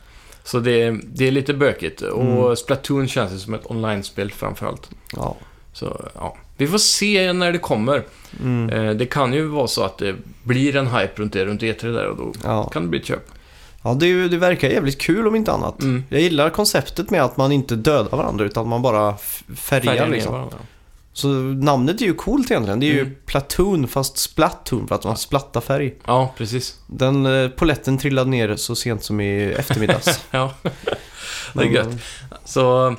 B: Så det, det är lite bökigt.
A: Mm.
B: Och Splatoon känns ju som ett online-spel framförallt.
A: Ja.
B: Så ja, vi får se när det kommer.
A: Mm.
B: Eh, det kan ju vara så att det blir en hype runt det, runt E3 där och då
A: Ja.
B: kan det bli ett köp.
A: Ja, det, är ju- det verkar jävligt kul om inte annat.
B: Mm.
A: Jag gillar konceptet med att man inte dödar varandra utan man bara f- färgar,
B: Färgar ner
A: liksom.
B: varandra.
A: Så namnet är ju coolt egentligen. Det är ju
B: Mm.
A: Platoon fast Splatoon för att man splattar färg.
B: Ja, precis.
A: Den eh, poletten trillade ner så sent som i eftermiddags.
B: Ja. det är
A: Men,
B: gött. Så...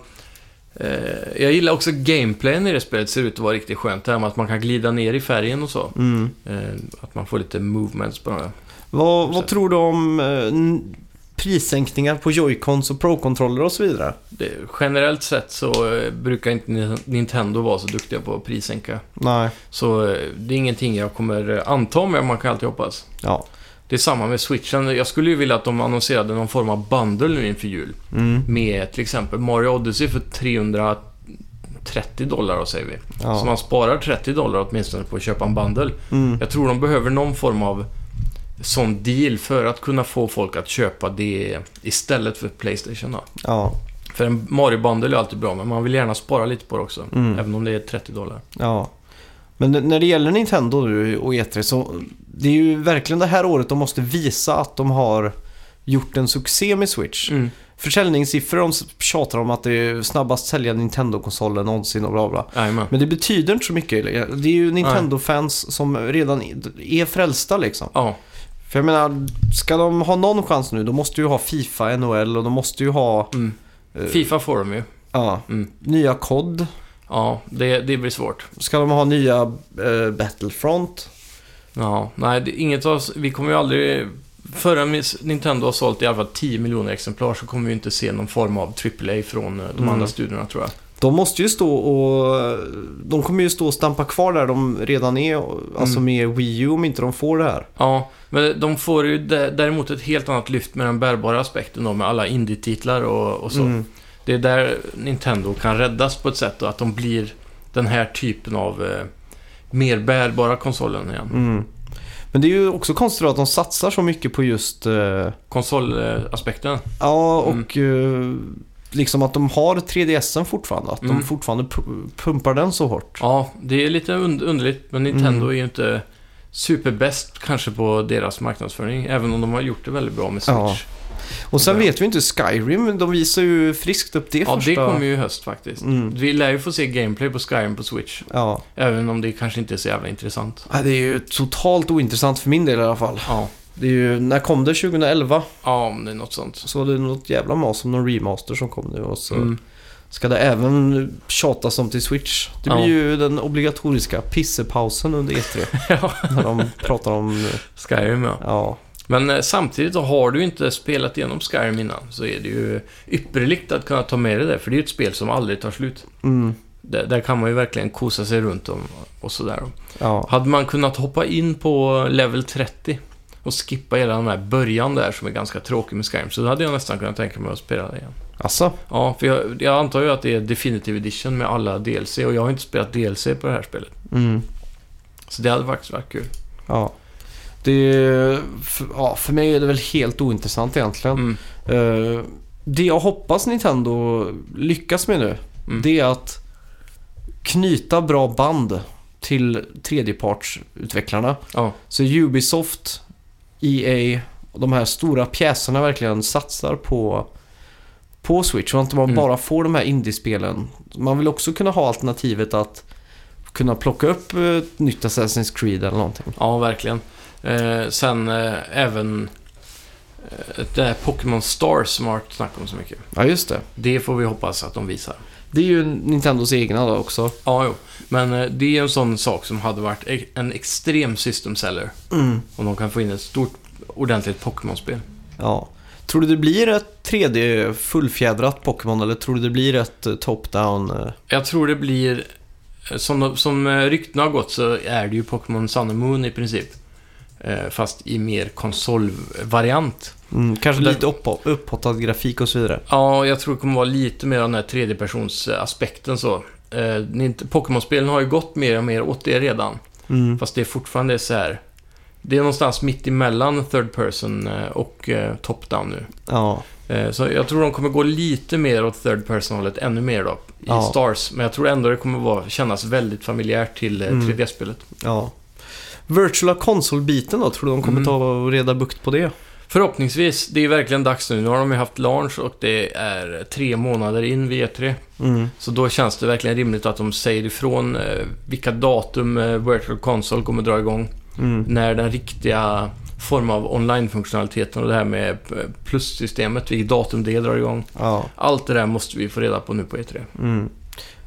B: Eh, jag gillar också gameplayen i det spelet, ser ut att vara riktigt skönt. Det här med att man kan glida ner i färgen och så.
A: Mm.
B: Eh, att man får lite movements på det.
A: Vad, vad tror du om eh, n- prissänkningar på Joy-Cons och Pro-kontroller och så vidare.
B: Det, generellt sett så eh, brukar inte Ni- Nintendo vara så duktiga på att prissänka.
A: Nej.
B: Så eh, det är ingenting jag kommer eh, anta, men man kan alltid hoppas.
A: Ja.
B: Det är samma med switchen. Jag skulle ju vilja att de annonserade någon form av bundle nu inför jul.
A: Mm.
B: Med till exempel Mario Odyssey för 330 dollar då, säger vi. Så
A: Ja.
B: man sparar 30 dollar åtminstone på att köpa en bundle.
A: Mm.
B: Jag tror de behöver någon form av sån deal för att kunna få folk att köpa det istället för Playstation då.
A: Ja.
B: För en Mario Bundle är alltid bra, men man vill gärna spara lite på det också.
A: Mm.
B: Även om det är 30 dollar.
A: Ja. Men n- när det gäller Nintendo nu och E3 så det är ju verkligen det här året de måste visa att de har gjort en succé med Switch.
B: Mm.
A: Försäljningssiffror de s- tjatar om att det är snabbast säljande Nintendo-konsolen någonsin och bla bla.
B: Jajamän.
A: Men det betyder inte så mycket. Det är ju Nintendo-fans som redan är frälsta liksom.
B: Ja,
A: För jag menar, ska de ha någon chans nu, då måste ju ha Fifa, NHL och de måste ju ha
B: mm.
A: Eh.
B: Fifa får de ju.
A: ja,
B: Mm.
A: nya COD.
B: Ja, det, det blir svårt.
A: Ska de ha nya eh, Battlefront?
B: Ja, nej, det, inget av oss, vi kommer ju aldrig... Förrän Miss- Nintendo har sålt i alla fall 10 miljoner exemplar så kommer vi inte se någon form av AAA från eh, de
A: Mm.
B: andra studierna tror jag.
A: De måste ju stå och... De kommer ju stå och stampa kvar där de redan är, alltså
B: Mm.
A: med Wii U om inte de får det här.
B: Ja, men de får ju dä- däremot ett helt annat lyft med den bärbara aspekten då med alla indie-titlar och, och så.
A: Mm.
B: Det är där Nintendo kan räddas på ett sätt och att de blir den här typen av eh, mer bärbara konsolen igen.
A: Mm. Men det är ju också konstigt då att de satsar så mycket på just... eh,
B: Konsolaspekten.
A: Ja, och eh, liksom att de har 3DSen fortfarande. Att
B: Mm.
A: de fortfarande pu- pumpar den så hårt.
B: Ja, det är lite und- underligt, men Nintendo
A: Mm.
B: är ju inte superbäst kanske på deras marknadsföring, även om de har gjort det väldigt bra med Switch.
A: Ja,
B: Ja,
A: Och sen
B: Ja.
A: vet vi inte, Skyrim, de visar ju friskt upp det första.
B: det kommer ju i höst faktiskt.
A: Mm.
B: Vi lär ju få se gameplay på Skyrim på Switch,
A: Ja.
B: även om det kanske inte är så jävla intressant.
A: Ja, Det är ju totalt ointressant för min del i alla fall.
B: Ja,
A: Det är ju, när kom det? 2011?
B: ja om det är något sånt.
A: Så var det något jävla mas om någon remaster som kom nu och så
B: Mm.
A: ska det även tjatas om till Switch. Det blir
B: Ja.
A: ju den obligatoriska pissepausen under E3
B: Ja,
A: när de pratar om,
B: Skyrim ja.
A: ja,
B: Men eh, samtidigt, så har du inte spelat igenom Skyrim innan så är det ju ypperligt att kunna ta med det där, för det är ju ett spel som aldrig tar slut.
A: mm,
B: Där, där kan man ju verkligen kosa sig runt om och sådär.
A: ja,
B: Hade man kunnat hoppa in på level 30 och skippa hela den här början där som är ganska tråkig med Skyrim så hade jag nästan kunnat tänka mig att spela det igen.
A: alltså,
B: Ja, för jag, jag antar ju att det är Definitive Edition med alla DLC och jag har inte spelat DLC på det här spelet.
A: mm,
B: Så det hade faktiskt varit kul.
A: ja. Det, för, ja, för mig är det väl helt ointressant egentligen.
B: Mm.
A: Eh, det jag hoppas Nintendo lyckas med nu,
B: Mm.
A: det är att knyta bra band till tredjepartsutvecklarna.
B: Ja,
A: Så Ubisoft, EA och de här stora pjäserna verkligen satsar på, på Switch. Och att man
B: Mm.
A: bara får de här indiespelen. Man vill också kunna ha alternativet att kunna plocka upp eh, ett nytt Assassin's Creed eller någonting.
B: ja verkligen. Eh, sen eh, även eh, det här Pokémon Stars som har varit snack om så mycket.
A: Ja, just det.
B: Det får vi hoppas att de visar.
A: Det är ju Nintendos egna då också.
B: Ja, jo. Men eh, det är en sån sak som hade varit e- en extrem system seller. Om de kan få in ett stort, ordentligt Pokémon-spel.
A: Ja. Tror du det blir ett 3D fullfjädrat Pokémon eller tror du det blir ett eh, top-down? eh?
B: Jag tror det blir... eh, Som, de- som eh, ryktena har gått så är det ju Pokémon Sun och Moon i princip. Eh, Fast i mer konsolvariant.
A: Mm, kanske
B: Där-
A: lite upp- upphottad grafik och så vidare.
B: Ja, jag tror det kommer vara lite mer av den här tredjepersonsaspekten så. Eh, Nint- Pokémon-spelen har ju gått mer och mer åt det redan.
A: Mm.
B: Fast det är fortfarande så här... Det är någonstans mitt emellan third person eh, och eh, top-down nu.
A: Ja.
B: Eh, Så jag tror de kommer gå lite mer åt third person-hållet, ännu mer då, i
A: Ja.
B: Stars. Men jag tror ändå det kommer vara, kännas väldigt familjärt till eh,
A: Mm.
B: 3D-spelet.
A: Ja. Virtual console-biten då? Tror du de kommer
B: Mm.
A: ta och reda bukt på det?
B: Förhoppningsvis, det är verkligen dags nu. Nu har de ju haft launch och det är tre månader in vid E E3.
A: Mm.
B: Så då känns det verkligen rimligt att de säger ifrån eh, vilka datum eh, Virtual Console kommer dra igång.
A: Mm.
B: När den riktiga form av online-funktionaliteten och det här med eh, plussystemet, vilket datum det drar igång.
A: Ja.
B: Allt det där måste vi få reda på nu på E E3.
A: Mm.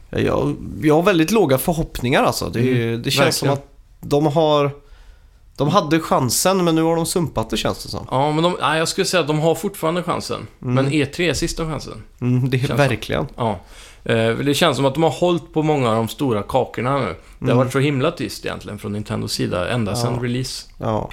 A: Jag, jag har väldigt låga förhoppningar alltså. Det,
B: Mm,
A: det känns som
B: verkligen.
A: att de har De hade chansen men nu har de sumpat det känns det som.
B: Ja, men de, nej, jag skulle säga att de har fortfarande chansen. Men E3 är sista chansen.
A: Mm, det är
B: Känns
A: verkligen.
B: Ja. Eh, Det känns som att de har hållit på många av de stora kakorna nu. Det har varit så himla tyst egentligen från Nintendos sida ända
A: Ja.
B: sedan release.
A: Ja.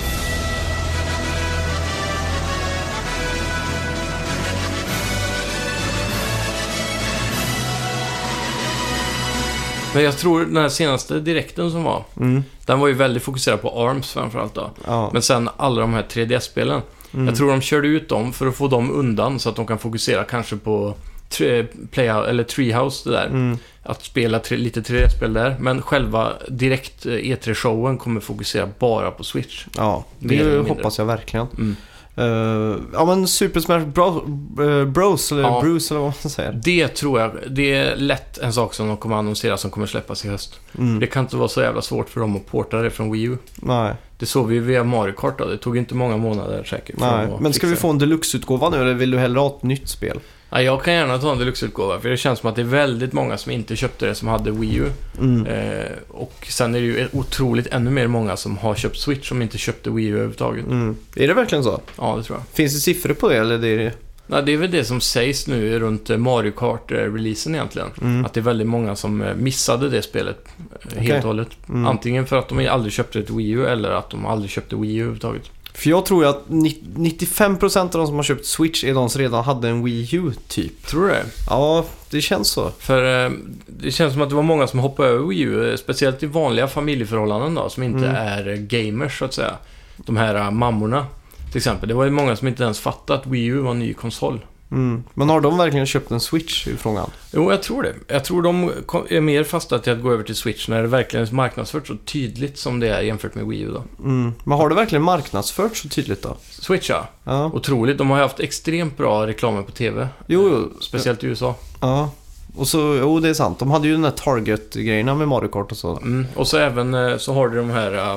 B: Men jag tror den här senaste direkten som var,
A: Mm,
B: den var ju väldigt fokuserad på ARMS framförallt då.
A: ja. Mm.
B: Men sen alla de här 3DS-spelen. Jag tror de körde ut dem för att få dem undan så att de kan fokusera kanske på tre, play, eller Treehouse det där.
A: Mm.
B: Att spela tre, lite 3D-spel där. Men själva direkt eh, E3-showen kommer fokusera bara på Switch.
A: Ja,
B: Mer eller
A: det
B: mindre.
A: hoppas jag verkligen.
B: Mm.
A: Eh, ja men Super Smash Bro- eh, Bros, eller
B: Ja.
A: Bruce eller vad man säger.
B: Det tror jag, det är lätt en sak som de kommer annonsera som kommer släppas i höst.
A: Mm.
B: Det kan inte vara så jävla svårt för dem att porta det från Wii U.
A: Nej,
B: Det såg vi ju via Mario Kart då. Det tog inte många månader säkert. för
A: nej.
B: dem att
A: Men ska vi
B: fixa.
A: få en deluxe-utgåva nu eller vill du hellre ha ett nytt spel?
B: Ja, jag kan gärna ta en deluxe-utgåva, för det känns som att det är väldigt många som inte köpte det som hade Wii U.
A: Mm.
B: Eh, och sen är det ju otroligt ännu mer många som har köpt Switch som inte köpte Wii U överhuvudtaget.
A: Mm. Är det verkligen så?
B: Ja, det tror jag.
A: Finns det siffror på det eller det är det...
B: Nej, det är väl det som sägs nu runt eh, Mario Kart-releasen egentligen.
A: Mm.
B: Att det är väldigt många som eh, missade det spelet eh, helt och hållet.
A: Mm.
B: Antingen för att de aldrig köpte ett Wii U eller att de aldrig köpte Wii U överhuvudtaget.
A: För jag tror ju att ni- 95% av de som har köpt Switch är de som redan hade en Wii U typ.
B: Tror du det?
A: Ja, det känns så.
B: För eh, det känns som att det var många som hoppade över Wii U, eh, speciellt i vanliga familjeförhållanden då, som inte
A: Mm.
B: är eh, gamers så att säga. De här eh, mammorna till exempel. Det var ju många som inte ens fattade att Wii U var en ny konsol.
A: Mm. Men har de verkligen köpt en Switch i frågan?
B: Jo, jag tror det. Jag tror de kom- är mer fasta till att gå över till Switch när det verkligen är marknadsfört så tydligt som det är jämfört med Wii U då.
A: Mm. Men har det verkligen marknadsförts så tydligt då?
B: Switch ja,
A: Ja.
B: otroligt. De har ju haft extremt bra reklamer på TV.
A: Jo, jo.
B: Speciellt i USA.
A: Ja. Och så, jo det är sant. De hade ju den här Target-grejerna med Mario Kart och så.
B: Mm. Och så även eh, så har du de här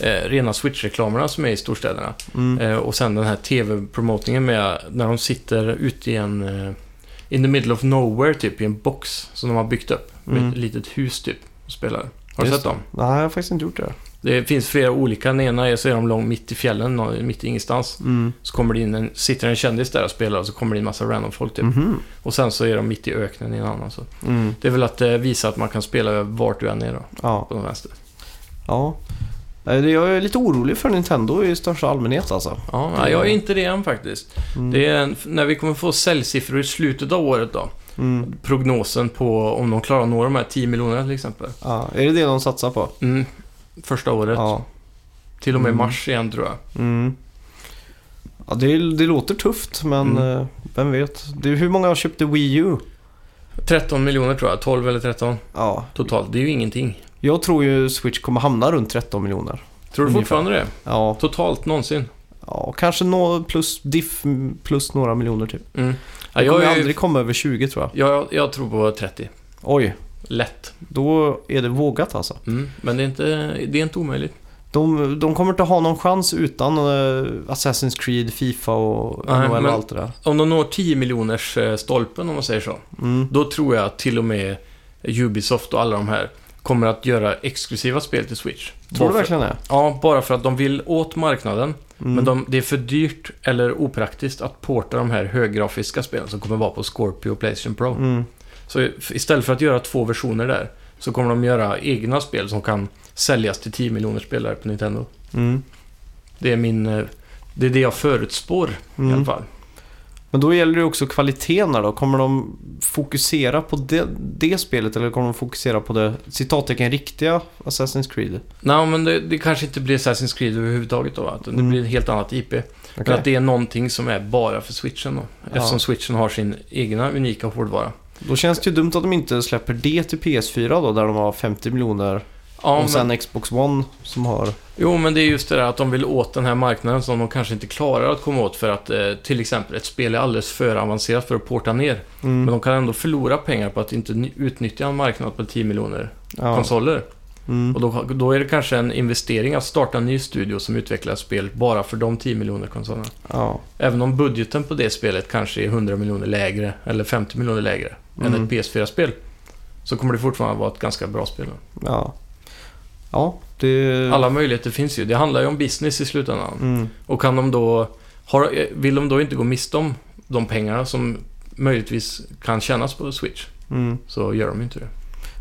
B: eh, rena Switch-reklamerna som är i storstäderna.
A: Mm.
B: Eh, och sen den här TV-promotingen med när de sitter ute i en... Eh, in the middle of nowhere typ, i en box som de har byggt upp. Med
A: Mm.
B: ett litet hus typ, och spelar. Har du
A: Just
B: sett dem?
A: Nej, jag har faktiskt inte gjort det.
B: Det finns flera olika. Den ena är så är de långt mitt i fjällen, nå- mitt i ingenstans.
A: Mm.
B: Så kommer det in en, sitter en kändis där och spelar och så kommer det in massa random folk typ.
A: Mhm.
B: Och sen så är de mitt i öknen i en annan. Så.
A: Mm.
B: Det är väl att eh, visa att man kan spela vart du än är då,
A: Ja.
B: på den vänster.
A: ja. Eh, det- Jag är lite orolig för Nintendo i största allmänhet alltså.
B: Ja, nej, jag är inte det än faktiskt.
A: Mm.
B: Det är en, när vi kommer få säljsiffror i slutet av året då.
A: Mm.
B: Prognosen på om de klarar att nå de här 10 miljonerna till exempel.
A: Ja. Är det det de satsar på?
B: Mm, första året.
A: Ja.
B: Till och med
A: Mm.
B: mars igen tror jag.
A: Mm. Ja, det, det låter tufft, men
B: Mm.
A: eh, vem vet. Det, hur många köpte Wii U?
B: 13 miljoner tror jag. 12 eller 13
A: Ja,
B: totalt. Det är ju ingenting.
A: jag tror ju Switch kommer hamna runt 13 miljoner.
B: Tror du
A: Ungefär.
B: fortfarande det?
A: Ja,
B: Totalt någonsin?
A: ja kanske nå plus diff m, plus några miljoner typ.
B: Mm. Ja,
A: Det
B: jag,
A: kommer
B: är,
A: aldrig komma över 20 tror jag.
B: jag, jag tror på 30.
A: Oj,
B: Lätt.
A: då är det vågat alltså.
B: Mm. Men det är, inte, det är inte omöjligt.
A: De, de kommer inte ha någon chans utan eh, Assassin's Creed, Fifa och
B: Nej,
A: NHL och
B: men-
A: allt det där.
B: Om de når 10 miljoners eh, stolpen om man säger så.
A: Mm.
B: Då tror jag att till och med Ubisoft och alla de här kommer att göra exklusiva spel till Switch.
A: Tror du
B: Bara för-
A: verkligen det?
B: Ja, bara för att de vill åt marknaden.
A: Mm.
B: Men de, det är för dyrt eller opraktiskt att porta de här höggrafiska spelen som kommer vara på Scorpio och Playstation Pro.
A: Mm.
B: Så istället för att göra två versioner där så kommer de göra egna spel som kan säljas till 10 miljoner spelare på Nintendo.
A: Mm.
B: Det är min... eh, Det är det jag förutspår i alla
A: Mm.
B: fall.
A: Men då gäller det ju också kvaliteten där då. Kommer de fokusera på det, det spelet eller kommer de fokusera på det citattecken riktiga Assassin's Creed?
B: Nej, men det, det kanske inte blir Assassin's Creed överhuvudtaget då. va? Utan det
A: Mm.
B: blir ett helt annat IP. Men att det är någonting som är bara för switchen då. Eftersom switchen har sin egna unika hårdvara.
A: Då känns det ju dumt att de inte släpper det till PS4 då där de har 50 miljoner
B: Ja,
A: och sen
B: men,
A: Xbox One som har...
B: jo, men det är just det där att de vill åt den här marknaden som de kanske inte klarar att komma åt för att eh, till exempel ett spel är alldeles för avancerat för att porta ner.
A: Mm,
B: Men de kan ändå förlora pengar på att inte ny- utnyttja en marknad på 10 miljoner
A: ja.
B: konsoler.
A: Mm,
B: Och då, då är det kanske en investering att starta en ny studio som utvecklar spel bara för de 10 miljoner konsolerna.
A: ja.
B: Även om budgeten på det spelet kanske är 100 miljoner lägre eller 50 miljoner lägre
A: Mm. Mm.
B: än ett PS4-spel. Så kommer det fortfarande vara ett ganska bra spel.
A: Ja. Ja, det...
B: Alla möjligheter finns ju. Det handlar ju om business i slutändan.
A: Mm.
B: Och kan de då, har, vill de då inte gå miste om de pengarna som möjligtvis kan tjänas på Switch,
A: Mm.
B: så gör de ju inte det.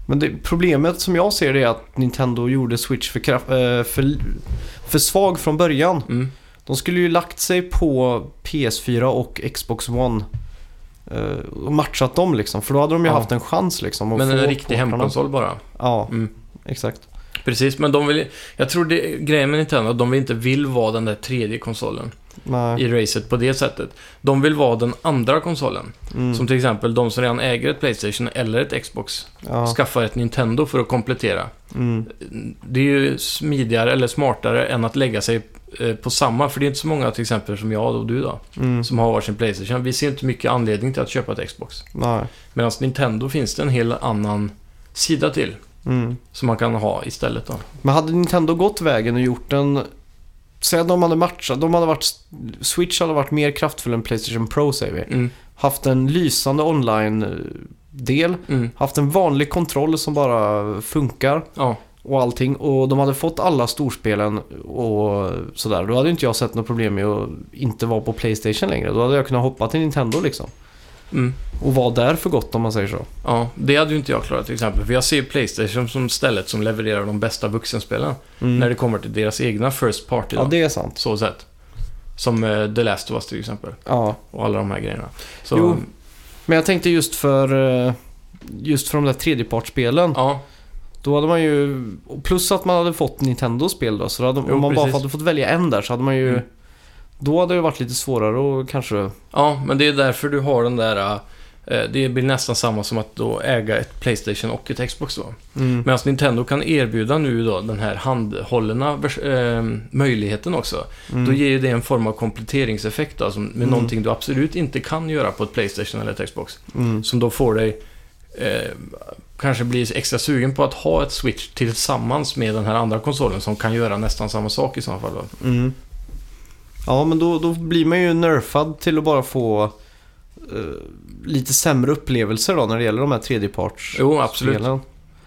A: Men det, problemet som jag ser det är att Nintendo gjorde Switch för, kraft, eh, för, för svag från början.
B: Mm.
A: De skulle ju lagt sig på PS4 och Xbox One eh, och matchat dem liksom. För då hade de ju
B: Ja.
A: haft en chans liksom. att
B: Men
A: få
B: en riktig
A: portarna.
B: hemkonsol bara.
A: Ja,
B: Mm.
A: exakt.
B: Precis, men de vill... Jag tror det, grejen med Nintendo är att de inte vill vara den där tredje konsolen
A: Nej.
B: i racet på det sättet. De vill vara den andra konsolen.
A: Mm.
B: Som till exempel de som redan äger ett Playstation eller ett Xbox
A: Ja.
B: skaffar ett Nintendo för att komplettera.
A: Mm.
B: Det är ju smidigare eller smartare än att lägga sig eh, på samma, för det är inte så många till exempel som jag och du då,
A: Mm.
B: som har varsin Playstation. Vi ser inte mycket anledning till att köpa ett Xbox.
A: Nej.
B: Medan Nintendo finns det en hel annan sida till,
A: Mm.
B: som man kan ha istället då.
A: Men hade Nintendo gått vägen och gjort en... Säg att de hade matchat, de hade varit... Switch hade varit mer kraftfull än Playstation Pro säger vi.
B: Mm,
A: Haft en lysande online-del.
B: mm,
A: Haft en vanlig kontroll som bara funkar
B: ja.
A: och allting. Och de hade fått alla storspelen och sådär. Då hade inte jag sett något problem med att inte vara på Playstation längre. Då hade jag kunnat hoppa till Nintendo liksom.
B: Mm.
A: Och vara där för gott om man säger så.
B: Ja, det hade ju inte jag klarat till exempel. För jag ser ju Playstation som stället som levererar de bästa vuxenspelen. Mm. När det kommer till deras egna First Party.
A: Mm. Ja,
B: då.
A: det är sant.
B: Så sett. Som eh, The Last of Us till exempel.
A: Ja.
B: Och alla de här grejerna. Så,
A: Jo. Men jag tänkte just för... eh, Just för de där tredjepartsspelen.
B: Ja,
A: Då hade man ju... och Plus att man hade fått Nintendo-spel då. Så då hade,
B: Jo,
A: om man bara
B: precis.
A: hade fått välja en där så hade man ju...
B: Mm.
A: Då hade det varit lite svårare att kanske...
B: ja, men det är därför du har den där... eh, Det blir nästan samma som att då äga ett Playstation och ett Xbox då.
A: Mm.
B: Medan Nintendo kan erbjuda nu då den här handhållna vers- eh, möjligheten också. Då ger ju det en form av kompletteringseffekt då, som, med
A: Mm.
B: någonting du absolut inte kan göra på ett Playstation eller ett Xbox.
A: Mm.
B: Som då får dig eh, kanske bli extra sugen på att ha ett Switch tillsammans med den här andra konsolen som kan göra nästan samma sak i så fall. Då.
A: Mm. Ja, men då, då blir man ju nerfad till att bara få eh, lite sämre upplevelser då när det gäller de här tredjepartsspelen.
B: Jo, absolut.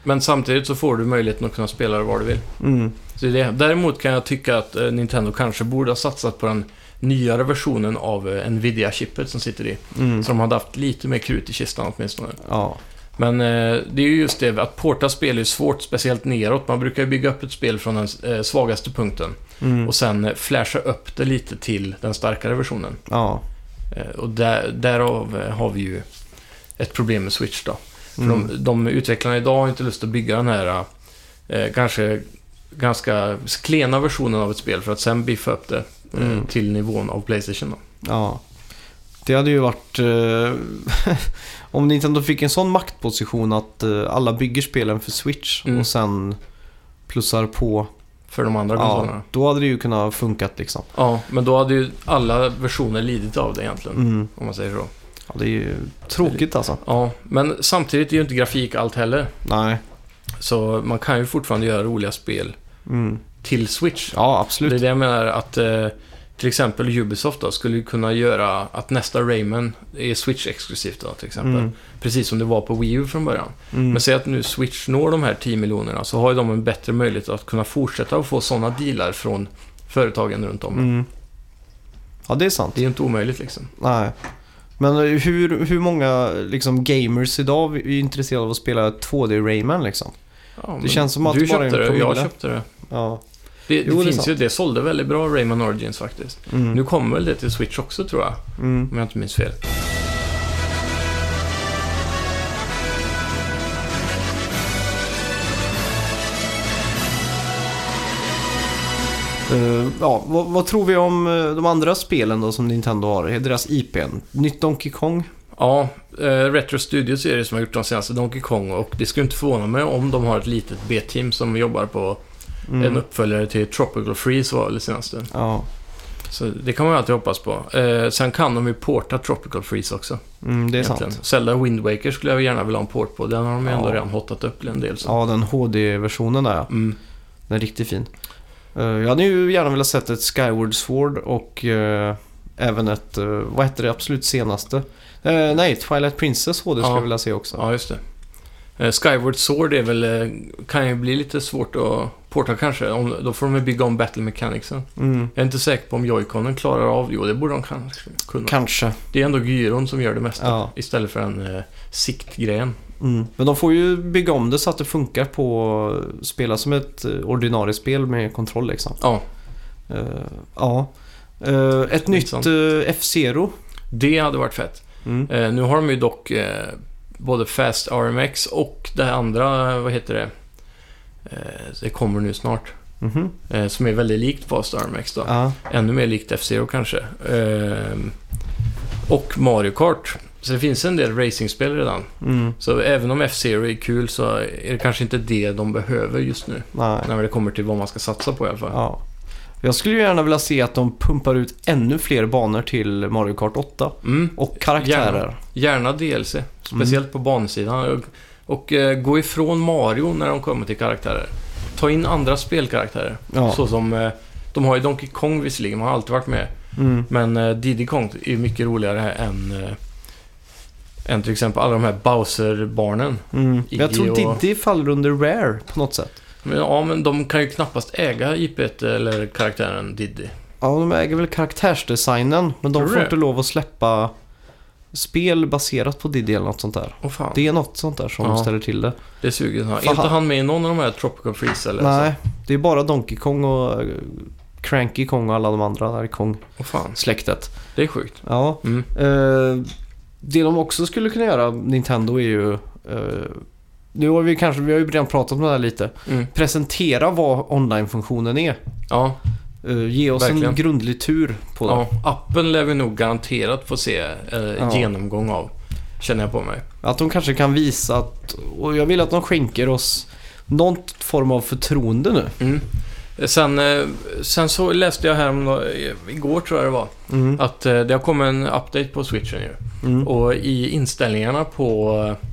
B: Men samtidigt så får du möjligheten att kunna spela det var du vill.
A: Mm.
B: Så det är det. Däremot kan jag tycka att eh, Nintendo kanske borde ha satsat på den nyare versionen av eh, Nvidia-chippet som sitter i.
A: Mm.
B: Så de hade haft lite mer krut i kistan åtminstone.
A: Ja.
B: Men eh, det är ju just det, att porta spel är ju svårt, speciellt neråt. Man brukar ju bygga upp ett spel från den eh, svagaste punkten.
A: Mm.
B: och sen eh, flasha upp det lite till den starkare versionen.
A: ja.
B: Eh, Och där, därav eh, har vi ju ett problem med Switch då. För
A: Mm.
B: de, de utvecklarna idag har inte lust att bygga den här eh, kanske ganska klena versionen av ett spel för att sen biffa upp det eh,
A: Mm.
B: till nivån av Playstation då.
A: ja. Det hade ju varit... Eh, om Nintendo fick en sån maktposition att eh, alla bygger spelen för Switch
B: Mm.
A: och sen plussar på.
B: För de andra
A: Ja,
B: konsolerna.
A: då hade det ju kunnat funkat liksom.
B: Ja, men då hade ju alla versioner lidit av det egentligen.
A: Mm.
B: Om man säger så.
A: Ja, det är ju tråkigt alltså.
B: Ja, men samtidigt är ju inte grafik allt heller.
A: Nej.
B: Så man kan ju fortfarande göra roliga spel
A: Mm.
B: till Switch.
A: Ja, absolut.
B: Det är det jag menar att eh, till exempel Ubisoft då, skulle ju kunna göra att nästa Rayman är Switch-exklusivt då till exempel.
A: Mm.
B: Precis som det var på Wii U från början.
A: Mm.
B: Men säg att nu Switch når de här 10 miljonerna så har ju de en bättre möjlighet att kunna fortsätta att få sådana dealar från företagen runt om.
A: Mm. Ja, det är sant.
B: Det är ju inte omöjligt liksom.
A: Nej. Men eh, hur, hur många liksom, gamers idag är intresserade av att spela 2D Rayman liksom?
B: Ja, men
A: Det känns som att
B: du
A: bara en
B: köpte det och jag
A: promille.
B: köpte det.
A: Ja.
B: Det,
A: Jo, det
B: det
A: är
B: finns
A: sant.
B: ju, det sålde väldigt bra Rayman Origins faktiskt.
A: Mm.
B: Nu kommer väl det till Switch också tror jag,
A: Mm.
B: om jag inte minns fel.
A: Eh, ja, vad, vad tror vi om eh, de andra spelen då som Nintendo har? Deras IPn? Nytt Donkey Kong?
B: Ja, eh, Retro Studios är det som har gjort de senaste Donkey Kong och det skulle inte förvåna mig om de har ett litet B-team som jobbar på en uppföljare till Tropical Freeze var det senaste.
A: Mm. Ja,
B: Så det kan man ju alltid hoppas på. Eh, sen kan de ju porta Tropical Freeze också.
A: mm, det är
B: egentligen.
A: sant.
B: Zelda Wind Waker skulle jag gärna vilja ha en port på. Den har de ju ändå
A: Ja.
B: redan hotat upp en del. Så.
A: Ja, den HD-versionen där ja.
B: Mm.
A: Den är riktigt fin. Eh, jag hade ju gärna velat sett ett Skyward Sword och eh, även ett, eh, vad hette det absolut senaste? Eh, nej, Twilight Princess HD skulle
B: Ja.
A: jag vilja se också.
B: Ja, just det. Eh, Skyward Sword är väl, eh, kan ju bli lite svårt att porta kanske. Om, då får de ju bygga om battle mechanicsen.
A: Mm.
B: Jag är inte säker på om joyconen klarar av... Jo, det borde de kanske kunna.
A: Kanske.
B: Det är ändå gyron som gör det mesta.
A: Ja.
B: Istället för den eh, siktgrejen.
A: Mm. Men de får ju bygga om det så att det funkar på spela som ett eh, ordinarie spel med kontroll liksom.
B: Ja.
A: Eh, ja. Eh, ett nytt
B: Intressant.
A: eh, F-Zero.
B: Det hade varit fett.
A: Mm.
B: Eh, nu har de ju dock eh, både Fast RMX och det andra, eh, vad heter det? Eh, det kommer nu snart.
A: Mhm.
B: Eh, som är väldigt likt Fast RMX då.
A: Ja.
B: Ännu mer likt F-Zero kanske. Eh, och Mario Kart. Så det finns en del racingspel redan.
A: Mm.
B: Så även om F-Zero är kul så är det kanske inte det de behöver just nu.
A: Nej.
B: När det kommer till vad man ska satsa på i alla fall.
A: Ja. Jag skulle ju gärna vilja se att de pumpar ut ännu fler banor till Mario Kart 8.
B: Mm.
A: Och karaktärer.
B: Gärna DLC.
A: Mm.
B: Speciellt på bansidan. Och, och eh, gå ifrån Mario när de kommer till karaktärer. Ta in andra spelkaraktärer.
A: Ja.
B: Så som, eh, de har ju Donkey Kong visserligen, man har alltid varit med.
A: Mm.
B: Men eh, Diddy Kong är ju mycket roligare här än, eh, än till exempel alla de här Bowser-barnen.
A: Mm. Men Jag tror
B: Iggy och-
A: Diddy faller under Rare på något sätt.
B: Men, ja, men de kan ju knappast äga IP eller karaktären Diddy.
A: Ja, de äger väl karaktärsdesignen. Men
B: Tror
A: de
B: du
A: får
B: det?
A: inte lov att släppa spel baserat på Diddy eller något sånt där.
B: Åh fan, det,
A: Det är något sånt där som
B: Ja.
A: ställer till det.
B: suger. Är
A: Fan.
B: inte han med i någon av de här Tropical Freeze eller
A: Nej, det är bara Donkey Kong och eh, Cranky Kong och alla de andra där i
B: så? Åh fan,
A: Kong-släktet.
B: det är sjukt.
A: Ja.
B: Mm.
A: Eh, det de också skulle kunna göra, Nintendo, är ju... eh, nu har vi kanske, vi har ju redan pratat om det här lite.
B: Mm.
A: Presentera vad online-funktionen är.
B: Ja,
A: Eh, ge oss
B: Verkligen.
A: en grundlig tur på den.
B: Ja, appen lär vi nog garanterat få se eh,
A: Ja.
B: genomgång av. Känner jag på mig.
A: Att de kanske kan visa att... Och jag vill att de skänker oss någon form av förtroende nu.
B: Mm. Eh, Sen, eh, sen så läste jag här om, nå- eh, igår tror jag det var,
A: Mm.
B: att eh, det har kommit en update på switchen ju.
A: Mm.
B: Och i inställningarna på eh,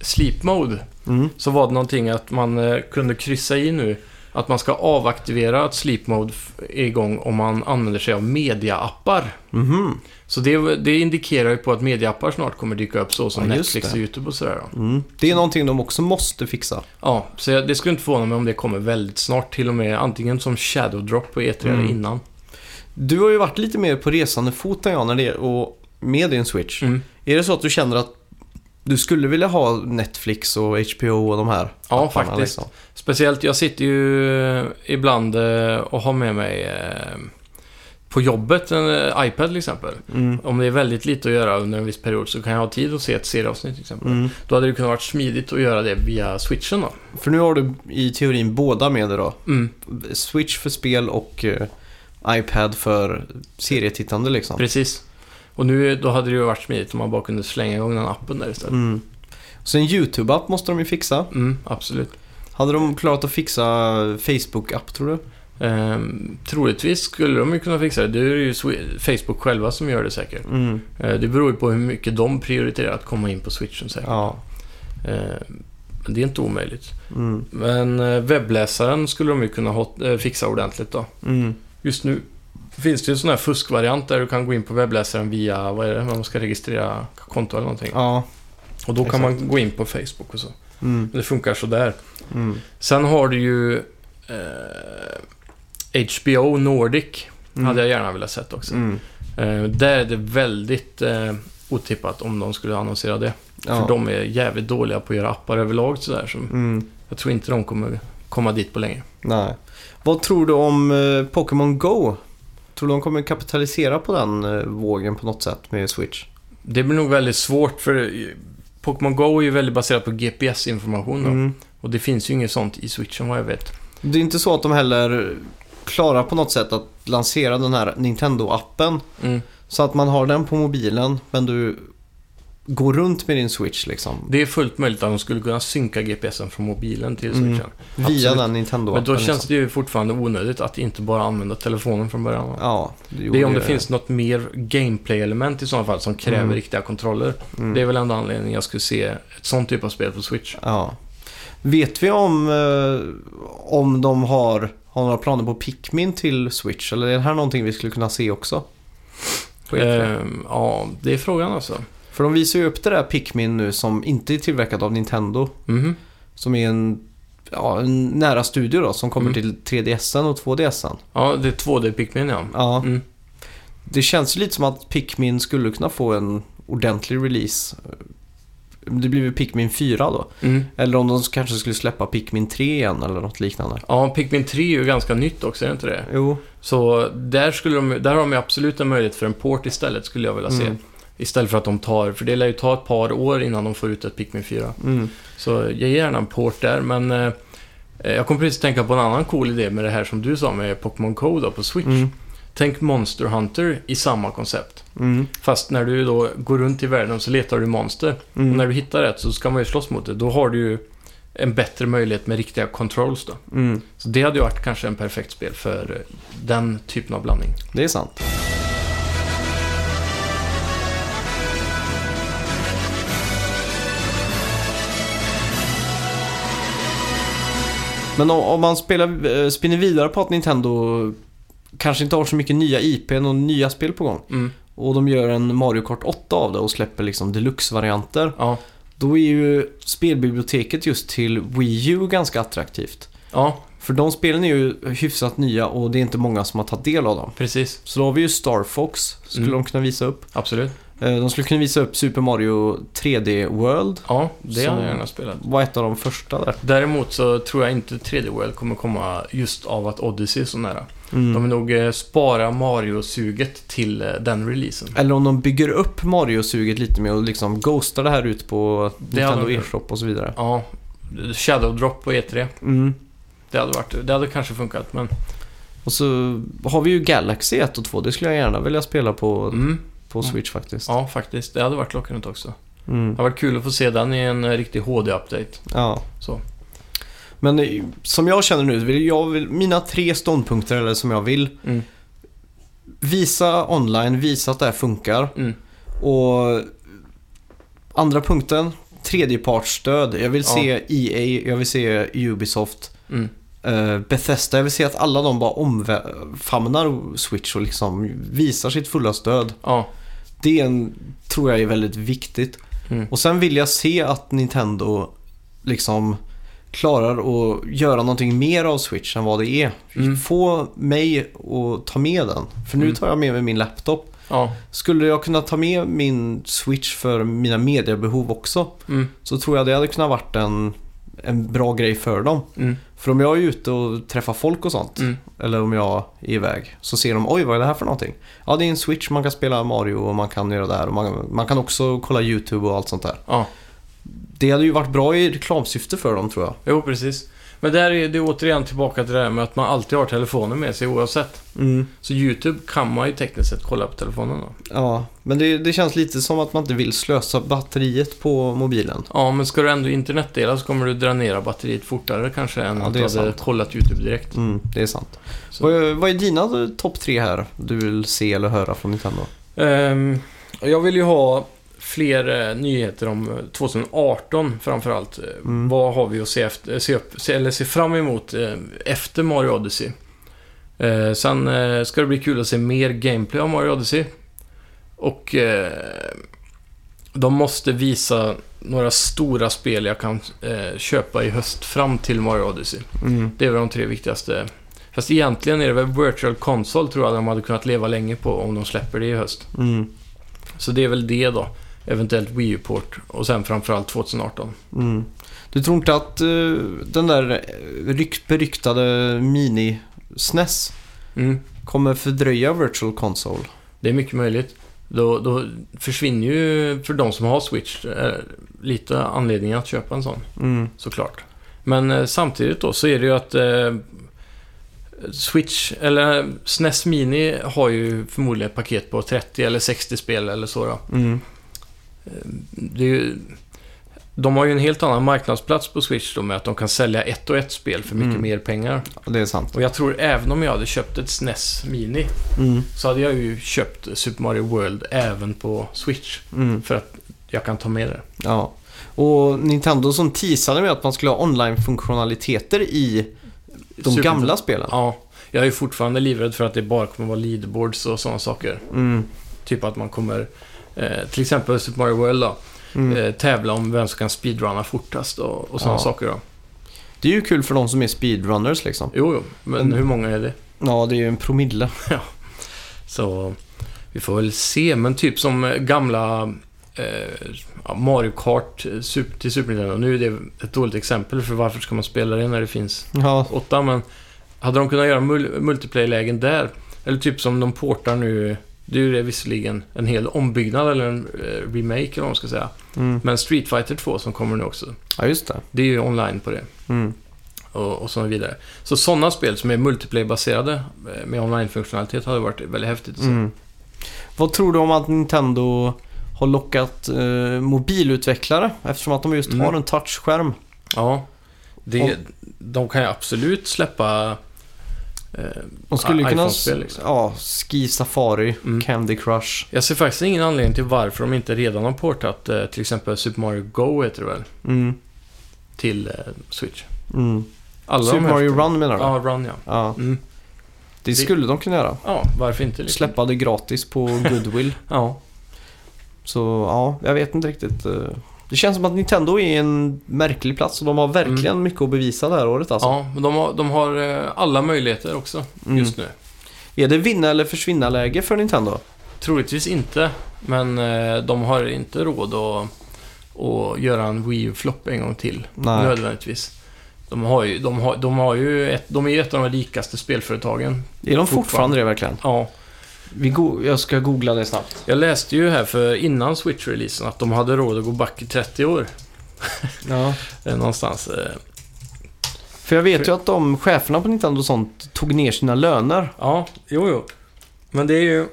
B: sleep mode
A: Mm.
B: så var det någonting att man eh, kunde kryssa i nu att man ska avaktivera att sleep mode f- är igång om man använder sig av mediaappar.
A: Mhm.
B: Så det, det indikerar ju på att mediaappar snart kommer dyka upp så som
A: Ja, just
B: Netflix
A: det.
B: och YouTube och sådär. Då.
A: Mm. Det är någonting de också måste fixa.
B: Ja, så jag, det skulle inte förvåna mig om det kommer väldigt snart. Till och med antingen som shadow drop på E3 eller
A: Mm.
B: innan.
A: Du har ju varit lite mer på resande fot än jag när det och med din Switch.
B: Mm.
A: Är det så att du känner att du skulle vilja ha Netflix och HBO och de här?
B: Ja,
A: apparna, liksom?
B: faktiskt. Speciellt, jag sitter ju eh, ibland eh, och har med mig eh, på jobbet en eh, iPad till exempel.
A: Mm.
B: Om det är väldigt lite att göra under en viss period så kan jag ha tid att se ett serieavsnitt till exempel.
A: Mm.
B: Då hade det kunnat varit smidigt att göra det via switchen då.
A: För nu har du i teorin båda med dig då.
B: Mm,
A: Switch för spel och eh, iPad för serietittande liksom.
B: precis. Och nu då hade det ju varit smidigt om man bara kunde slänga igång den appen där istället.
A: Mm. Så en YouTube-app måste de ju fixa.
B: Mm, absolut.
A: Hade de klarat att fixa Facebook-app tror du?
B: Ehm, troligtvis skulle de ju kunna fixa det. Det är ju Swi- Facebook själva som gör det säkert.
A: Mm.
B: Eh, det beror ju på hur mycket de prioriterar att komma in på switchen säkert.
A: Ja.
B: Ehm, men det är inte omöjligt.
A: Mm.
B: Men eh, webbläsaren skulle de ju kunna hot- eh, fixa ordentligt då.
A: Mm.
B: Just nu finns det ju en sån här fuskvariant där du kan gå in på webbläsaren via, vad är det, man ska registrera konto eller någonting.
A: Ja.
B: och då kan
A: exakt.
B: man gå in på Facebook och så.
A: Mm.
B: Men det funkar sådär.
A: Mm.
B: Sen har du ju eh, HBO Nordic.
A: Mm.
B: Hade jag gärna velat sett också.
A: Mm.
B: Eh, där är det väldigt eh, otippat om de skulle annonsera det.
A: Ja.
B: För de är jävligt dåliga på att göra appar överlag sådär. Så
A: Mm.
B: jag tror inte de kommer komma dit på länge.
A: Nej. Vad tror du om eh, Pokémon Go? Tror du de kommer kapitalisera på den eh, vågen på något sätt med Switch?
B: Det blir nog väldigt svårt för eh, Pokémon Go är ju väldigt baserat på GPS-information. då.
A: Mm.
B: Och det finns ju inget sånt i switchen vad jag vet.
A: Det är inte så att de heller klarar på något sätt att lansera den här Nintendo-appen
B: Mm.
A: så att man har den på mobilen men du går runt med din Switch liksom.
B: Det är fullt möjligt att de skulle kunna synka GPSen från mobilen till
A: Mm.
B: switchen.
A: Via
B: Absolut.
A: den Nintendo-appen.
B: Men då känns
A: liksom.
B: det ju fortfarande onödigt att inte bara använda telefonen från början. va?
A: Ja, jo,
B: det är om det
A: gör
B: finns något mer gameplay-element i sådana fall som kräver
A: Mm.
B: riktiga kontroller.
A: Mm.
B: Det är väl enda anledningen jag skulle se ett sånt typ av spel på Switch.
A: Ja. Vet vi om, eh, om de har, har några planer på Pikmin till Switch? Eller är det här någonting vi skulle kunna se också? På E E3?
B: Ehm, ja, det är frågan alltså.
A: För de visar ju upp det där Pikmin nu som inte är tillverkat av Nintendo.
B: Mhm.
A: Som är en, ja, en nära studio då som kommer
B: Mm.
A: till 3DSen och 2DSen.
B: Ja, det är 2D Pikmin ja.
A: Ja.
B: Mm.
A: Det känns ju lite som att Pikmin skulle kunna få en ordentlig release. Det blir väl Pikmin 4 då.
B: Mm.
A: Eller om de kanske skulle släppa Pikmin 3 igen eller något liknande.
B: Ja, Pikmin 3 är ju ganska nytt också, är det inte det?
A: Jo,
B: Så där, skulle de, där har de ju absolut en möjlighet för en port istället, skulle jag vilja se.
A: Mm.
B: Istället för att de tar, för det lär ju ta ett par år innan de får ut ett Pikmin 4.
A: mm.
B: Så jag ger gärna en port där, men eh, jag kom precis att tänka på en annan cool idé med det här som du sa med Pokémon Code då, på Switch.
A: Mm.
B: Tänk Monster Hunter i samma koncept.
A: Mm.
B: Fast när du då går runt i världen så letar du monster. Och
A: Mm.
B: när du hittar ett så ska man ju slåss mot det. Då har du ju en bättre möjlighet med riktiga controls då.
A: Mm.
B: Så det hade ju varit kanske en perfekt spel för eh, den typen av blandning.
A: Det är sant. Men om, om man spelar, eh, spinner vidare på att Nintendo kanske inte har så mycket nya IP och nya spel på gång.
B: Mm.
A: Och de gör en Mario Kart 8 av det och släpper liksom deluxe-varianter.
B: Ja.
A: Då är ju spelbiblioteket just till Wii U ganska attraktivt.
B: ja,
A: För de spelen är ju hyfsat nya och det är inte många som har tagit del av dem.
B: precis.
A: Så då har vi ju Star Fox, skulle
B: Mm.
A: de kunna visa upp.
B: Absolut.
A: Eh, De skulle kunna visa upp Super Mario 3D World.
B: Ja, det
A: Så-
B: hade jag gärna spelat.
A: Var ett av de första där.
B: Däremot så tror jag inte 3D World kommer komma just av att Odyssey är så nära. De
A: Mm.
B: vill nog eh, spara Mario-suget till eh, den releasen.
A: Eller om de bygger upp Mario-suget lite med och liksom ghostar det här ut på
B: Det hade
A: Nintendo
B: de gjort.
A: E-shop och så vidare.
B: Ja, Shadow Drop på E3.
A: Mm.
B: Det hade, varit, det hade kanske funkat, men...
A: Och så har vi ju Galaxy 1 och 2. Det skulle jag gärna vilja spela på,
B: Mm,
A: på Switch faktiskt.
B: ja, faktiskt. Det hade varit klockrent också. Det
A: Mm.
B: hade varit kul att få se den i en eh, riktig HD-update.
A: Ja.
B: Så.
A: Men eh, som jag känner nu, vill jag vill, mina tre ståndpunkter eller som jag vill.
B: Mm.
A: Visa online, visa att det här funkar.
B: Mm.
A: Och andra punkten, tredjepartsstöd. Jag vill se EA, jag vill se Ubisoft,
B: Mm.
A: eh, Bethesda. Jag vill se att alla de bara omfamnar Switch och liksom visar sitt fulla stöd.
B: Ja.
A: Det är en, tror jag är väldigt viktigt.
B: Mm.
A: Och sen vill jag se att Nintendo liksom klarar att göra någonting mer av Switch än vad det är.
B: Mm.
A: Få mig att ta med den. För nu
B: Mm.
A: tar jag med mig min laptop.
B: Ja.
A: Skulle jag kunna ta med min Switch för mina mediebehov också
B: Mm.
A: så tror jag det hade kunnat varit en, en bra grej för dem.
B: Mm.
A: För om jag är ute och träffar folk och sånt,
B: Mm.
A: eller om jag är iväg, så ser de oj vad är det här för någonting? Ja det är en Switch, man kan spela Mario och man kan göra det här och man, man kan också kolla YouTube och allt sånt där.
B: Ja.
A: Det hade ju varit bra i reklamsyfte för dem tror jag.
B: Jo, precis. Men där är det återigen tillbaka till det här med att man alltid har telefonen med sig oavsett. Så YouTube kan man ju tekniskt sett kolla på telefonen då.
A: Ja, men det, det känns lite som att man inte vill slösa batteriet på mobilen.
B: Ja, men ska du ändå internetdela så kommer du dränera batteriet fortare kanske än
A: Ja,
B: att
A: det
B: du
A: är
B: hade
A: sant.
B: kollat YouTube direkt.
A: Mm, det är sant.
B: Så-
A: Vad är, vad är dina eh, topp tre här du vill se eller höra från Nintendo?
B: Ehm, och jag vill ju ha fler eh, nyheter om eh, 2018 framförallt. Eh,
A: Mm.
B: Vad har vi att se, efter, se, upp, se, eller se fram emot eh, efter Mario Odyssey? Eh, sen eh, ska det bli kul att se mer gameplay av Mario Odyssey. Och eh, de måste visa några stora spel jag kan eh, köpa i höst fram till Mario Odyssey.
A: Mm.
B: Det är väl de tre viktigaste. Fast egentligen är det väl Virtual Console tror jag de hade kunnat leva länge på om de släpper det i höst.
A: Mm.
B: Så det är väl det då. Eventuellt Wii U-port och sen framförallt 2018.
A: Mm. Du tror inte att eh, den där eh, ryk, beryktade mini-SNES
B: Mm.
A: kommer fördröja Virtual Console?
B: Det är mycket möjligt. Då, då försvinner ju för de som har Switch eh, lite anledning att köpa en sån
A: Mm.
B: såklart. Men eh, samtidigt då så är det ju att eh, Switch eller SNES Mini har ju förmodligen ett paket på 30 eller 60 spel eller så då.
A: Mm.
B: Det är ju, de har ju en helt annan marknadsplats på Switch då med att de kan sälja ett och ett spel för mycket
A: Mm.
B: mer pengar.
A: Ja, Det är sant.
B: Och jag tror även om jag hade köpt ett SNES Mini
A: Mm.
B: så hade jag ju köpt Super Mario World även på Switch.
A: Mm.
B: För att jag kan ta med det.
A: Ja. Och Nintendo som teasade med att man skulle ha online-funktionaliteter i de
B: Super-
A: gamla spelen.
B: Ja. Jag är ju fortfarande livrädd för att det bara kommer vara leaderboards och sådana saker.
A: Mm.
B: Typ att man kommer Eh, till exempel Super Mario World då.
A: Mm.
B: Eh, tävla om vem som kan speedrunna fortast och, och sådana
A: Ja.
B: saker då.
A: Det är ju kul för de som är speedrunners liksom.
B: Jo, jo, men
A: Men-
B: hur många är det?
A: Ja, det är ju en promille.
B: Så vi får väl se, men typ som eh, gamla eh, ja, Mario Kart eh, Sup- till Super Nintendo. Nu är det ett dåligt exempel för varför ska man spela det när det finns
A: Ja,
B: åtta, men hade de kunnat göra mul- multiplayer-lägen där, eller typ som de portar nu, det är ju det visserligen en hel ombyggnad eller en eh, remake eller vad man ska säga.
A: mm.
B: Men Street Fighter 2 som kommer nu också,
A: ja just det.
B: det är ju online på det
A: Mm.
B: och, och så vidare. Så sådana spel som är multiplayer-baserade eh, med online-funktionalitet hade varit väldigt häftigt. att se.
A: Mm. Vad tror du om att Nintendo har lockat eh, mobilutvecklare eftersom att de just
B: Mm.
A: har en touchskärm?
B: Ja, det,
A: Och-
B: de kan ju absolut släppa... Eh,
A: De skulle ju
B: I-
A: kunna...
B: iPhone-spel, liksom.
A: Ja, Ski Safari,
B: Mm.
A: Candy Crush.
B: jag ser faktiskt ingen anledning till varför de inte redan har portat eh, till exempel Super Mario Go, heter det väl,
A: Mm.
B: till eh, Switch.
A: Mm.
B: Alla
A: Super
B: de här-
A: Mario Run menar du?
B: Ja, Run ja.
A: Ja.
B: Mm.
A: Det skulle de kunna göra.
B: Ja, varför inte? Liksom?
A: Släppa det gratis på Goodwill.
B: Ja.
A: Så ja, jag vet inte riktigt. eh. Det känns som att Nintendo är en märklig plats och de har verkligen
B: Mm.
A: mycket att bevisa det här året alltså.
B: ja, men de har, de har eh, alla möjligheter också
A: Mm.
B: just nu.
A: Är det vinna eller försvinna läge för Nintendo?
B: Troligtvis inte, men eh, de har inte råd att, att göra en Wii U-flopp en gång till.
A: Nej.
B: Nödvändigtvis. De har ju, de har, de har ju ett, de är ju ett av de rikaste
A: Är
B: spelföretagen.
A: de fortfarande
B: Fortfarande.
A: det verkligen?
B: Ja,
A: Vi go- jag ska googla det snabbt.
B: jag läste ju här för innan Switch-releasen att de hade råd att gå back i 30 år.
A: Ja.
B: Eh, någonstans. Eh,
A: För jag vet ju att de cheferna på Nintendo och sånt tog ner sina löner.
B: ja, jo, jo. Men det är ju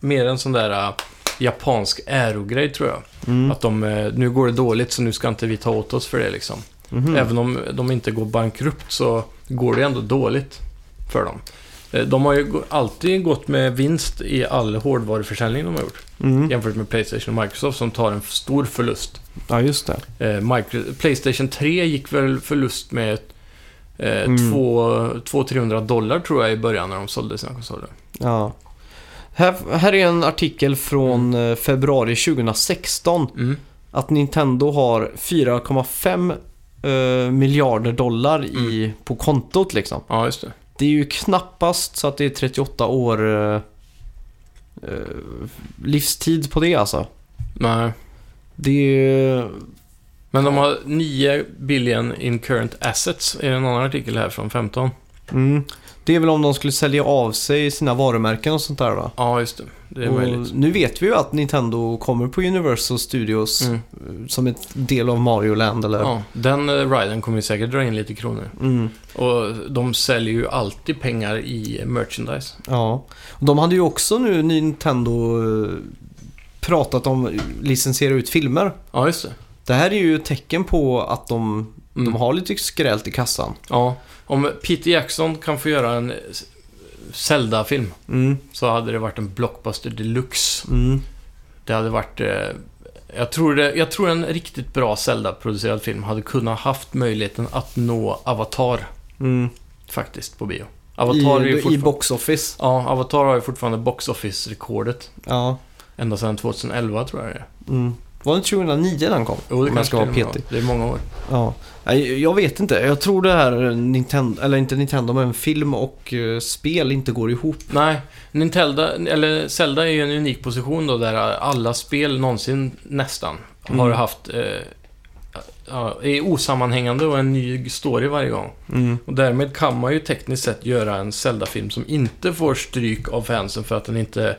B: mer en sån där eh, japansk ärogrej tror jag.
A: Mm.
B: Att de, eh, nu går det dåligt så nu ska inte vi ta åt oss för det liksom.
A: Mhm.
B: Även om de inte går bankrupt så går det ändå dåligt för dem. Eh, De har ju gå- alltid gått med vinst i all hårdvaruförsäljning de har gjort.
A: Mm.
B: Jämfört med Playstation och Microsoft som tar en f- stor förlust.
A: Ja, just det.
B: Eh, Micro- Playstation 3 gick väl förlust med eh,
A: Mm.
B: två- 200-300 dollar tror jag i början när de sålde sina konsoler.
A: Ja. Här, här är en artikel från eh, februari 2016.
B: Mm.
A: Att Nintendo har 4,5 eh, miljarder dollar i, på kontot liksom.
B: Ja, just det.
A: Det är ju knappast så att det är 38 år eh, eh, livstid på det alltså.
B: Nej.
A: Det är ju...
B: Men de har 9 billion in current assets, är det en annan artikel här från 15.
A: Mm. Det är väl om de skulle sälja av sig sina varumärken och sånt där va?
B: Ja, just det. Det är
A: Och
B: möjligt.
A: Nu vet vi ju att Nintendo kommer på Universal Studios
B: Mm.
A: eh, som en del av Mario Land eller...
B: Ja, den eh, riden kommer ju säkert dra in lite kronor.
A: Mm,
B: Och de säljer ju alltid pengar i merchandise.
A: ja. Och De hade ju också nu Nintendo eh, pratat om att licensiera ut filmer.
B: Ja, just det.
A: Det här är ju ett tecken på att de,
B: Mm.
A: de har lite skrällt i kassan.
B: Ja, om Peter Jackson kan få göra en eh, Zelda-film
A: Mm,
B: så hade det varit en blockbuster deluxe.
A: mm,
B: Det hade varit... Eh, jag, tror det, jag tror en riktigt bra Zelda-producerad film hade kunnat haft möjligheten att nå Avatar
A: mm.
B: faktiskt på bio. Avatar är ju
A: I, I
B: fortfarande...
A: box office.
B: ja, Avatar har ju fortfarande box office-rekordet.
A: Ja.
B: Ända sedan 2011 tror jag det är.
A: Mm. Var det 2009 den kom?
B: Jo, det
A: Om jag
B: kanske
A: ska vara
B: till och med
A: petig.
B: var. Det är många år.
A: Ja. Nej, Jag vet inte. Jag tror det här Nintendo, eller inte Nintendo, men film och eh, spel inte går ihop.
B: Nej, Nintendo, eller Zelda är ju en unik position då där alla spel någonsin, nästan, har
A: Mm.
B: haft... Eh, ja, är osammanhängande och en ny story varje gång.
A: Mm.
B: Och därmed kan man ju tekniskt sett göra en Zelda-film som inte får stryk av fansen för att den inte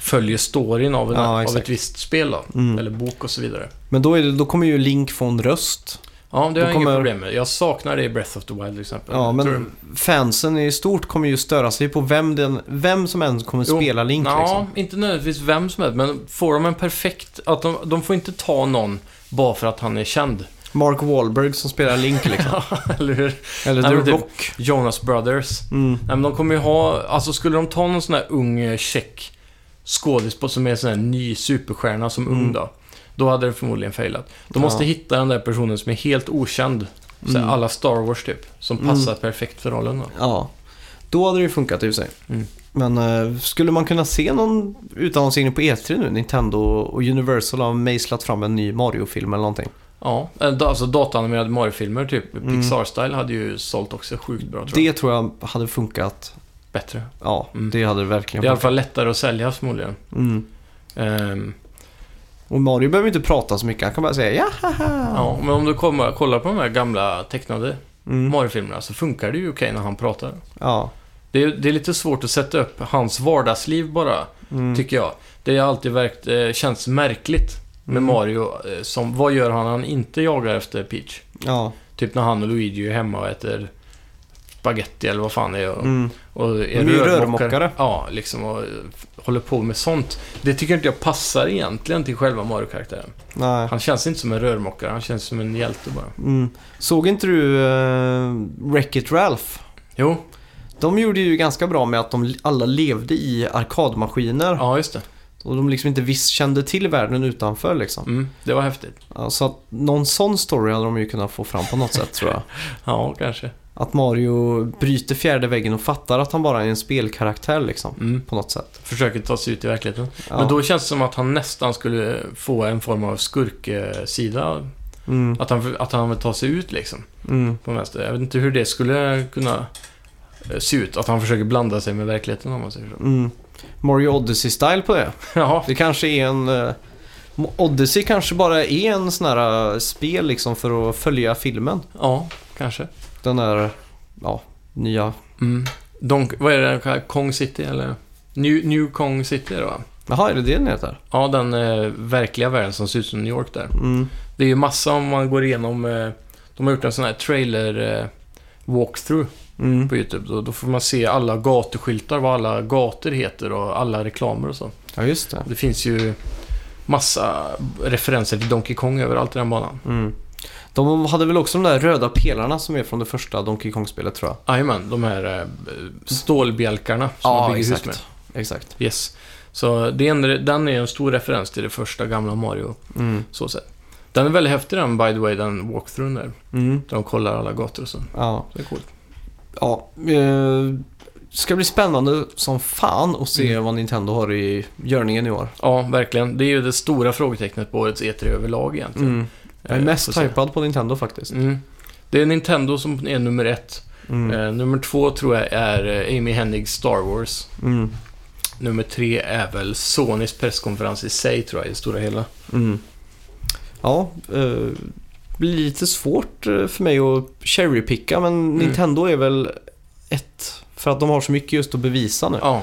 B: följer storyn av, en,
A: Ja,
B: av
A: exakt.
B: ett visst spel då,
A: Mm.
B: eller bok och så vidare.
A: Men då, är det, då kommer ju Link få en röst.
B: Ja, det har jag
A: kommer-
B: inga problem med. Jag saknar det i Breath of the Wild till exempel.
A: Ja,
B: Jag
A: men
B: tror-
A: fansen i stort kommer ju störa sig på vem, den, vem som än kommer
B: Jo.
A: spela Link.
B: Ja,
A: Liksom.
B: inte nödvändigtvis vem som helst, men får de en perfekt... Att de, de får inte ta någon bara för att han är känd.
A: Mark Wahlberg som spelar Link liksom.
B: Eller hur?
A: Eller
B: Nej, men
A: The
B: typ-
A: Rock.
B: Jonas Brothers.
A: Mm.
B: Nej, men de kommer ju ha... Alltså, skulle de ta någon sån här ung eh, tjeck skådis på som är en sån här ny superstjärna som
A: Mm.
B: ung då. Då hade det förmodligen failat. De
A: Ja.
B: måste hitta den där personen som är helt okänd. Så här,
A: Mm.
B: alla Star Wars typ. Som
A: Mm.
B: passar perfekt för rollen då.
A: Ja. Då hade det ju funkat i och för sig.
B: Mm.
A: Men eh, skulle man kunna se någon utannonsering på E3 nu? Nintendo och Universal har mejslat fram en ny Mario-film eller någonting.
B: Ja, eh, alltså dataanimerade Mario-filmer typ.
A: Mm.
B: Pixar-style hade ju sålt också sjukt bra tror jag.
A: Det tror jag hade funkat.
B: Bättre.
A: Ja,
B: Mm.
A: det hade det
B: Det
A: verkligen
B: är i alla fall lättare att sälja förmodligen.
A: Mm.
B: Ehm,
A: Och Mario behöver inte prata så mycket. Han kan bara säga ja, haha.
B: ja, men om du kommer, kollar på de här gamla tecknade
A: Mm.
B: Mario-filmerna så funkar det ju okej när han pratar.
A: Ja.
B: Det är, det är lite svårt att sätta upp hans vardagsliv bara,
A: Mm.
B: tycker jag. Det har alltid verkt, eh, känts märkligt med
A: Mm.
B: Mario. Eh, som, vad gör han när han inte jagar efter Peach?
A: ja.
B: Typ när han och Luigi är hemma och äter spaghetti eller vad fan det är. Och,
A: Mm.
B: och
A: är
B: är
A: ju
B: rörmokare.
A: rörmokare.
B: Ja, liksom och eh, håller på med sånt. Det tycker inte jag passar egentligen till själva Mario-karaktären.
A: Nej.
B: Han känns inte som en rörmokare, han känns som en hjälte bara.
A: Mm. Såg inte du uh, Wreck-It Ralph?
B: Jo,
A: De gjorde ju ganska bra med att de alla levde i arkadmaskiner.
B: ja just det.
A: Och de liksom inte visst kände till världen utanför liksom.
B: Mm, det var häftigt.
A: Ja, Så att någon sån story hade de ju kunnat få fram på något sätt tror jag.
B: Ja, kanske.
A: Att Mario bryter fjärde väggen och fattar att han bara är en spelkaraktär liksom.
B: Mm.
A: På något sätt.
B: Försöker ta sig ut i verkligheten.
A: Ja.
B: Men då känns det som att han nästan skulle få en form av skurksida.
A: Mm,
B: Att han, att han vill ta sig ut liksom.
A: mm.
B: På vänster. Jag vet inte hur det skulle kunna eh, se ut. Att han försöker blanda sig med verkligheten om man säger så.
A: Mm. Mario Odyssey-style på det.
B: Ja,
A: Det kanske är en... eh, Odyssey kanske bara är en sån här eh, spel liksom för att följa filmen.
B: ja kanske.
A: Den där, ja, nya...
B: Mm. Donk, vad är det den kallar? Kong City eller? New, New Kong City då? va?
A: Jaha, är det det den heter?
B: Ja, den eh, verkliga världen som ser ut som New York där.
A: Mm.
B: Det är ju massa om man går igenom... Eh, de har gjort en sån här trailer eh, walkthrough.
A: Mm.
B: på YouTube. Då, då får man se alla gatuskyltar, vad alla gator heter och alla reklamer och så.
A: Ja, just det.
B: Det finns ju massa referenser till Donkey Kong överallt i den banan.
A: Mm. De hade väl också de där röda pelarna som är från det första Donkey Kong-spelet tror jag.
B: Jajamän, de här eh, stålbjälkarna som man bygger hus med.
A: Exakt.
B: Yes. Så det är en, den är en stor referens till det första gamla Mario,
A: Mm.
B: så sett. Den är väldigt häftig den, by the way, den walkthroughen där.
A: Mm.
B: Där de kollar alla gator och så.
A: Ja.
B: Det är coolt.
A: ja. eh, Ska bli spännande som fan att se
B: Mm.
A: vad Nintendo har i görningen i år.
B: Ja, verkligen. Det är ju det stora frågetecknet på årets E3 överlag egentligen.
A: Mm. Jag är
B: Eh,
A: mest
B: får se.
A: typad på Nintendo faktiskt.
B: Mm. Det är Nintendo som är nummer ett.
A: Mm.
B: Eh, nummer två tror jag är eh, Amy Hennigs Star Wars.
A: Mm.
B: Nummer tre är väl Sonys presskonferens i sig tror jag i det stora hela.
A: Mm. Ja, eh, blir lite svårt eh, för mig att cherrypicka men
B: Mm.
A: Nintendo är väl ett. För att de har så mycket just att bevisa nu.
B: Ja.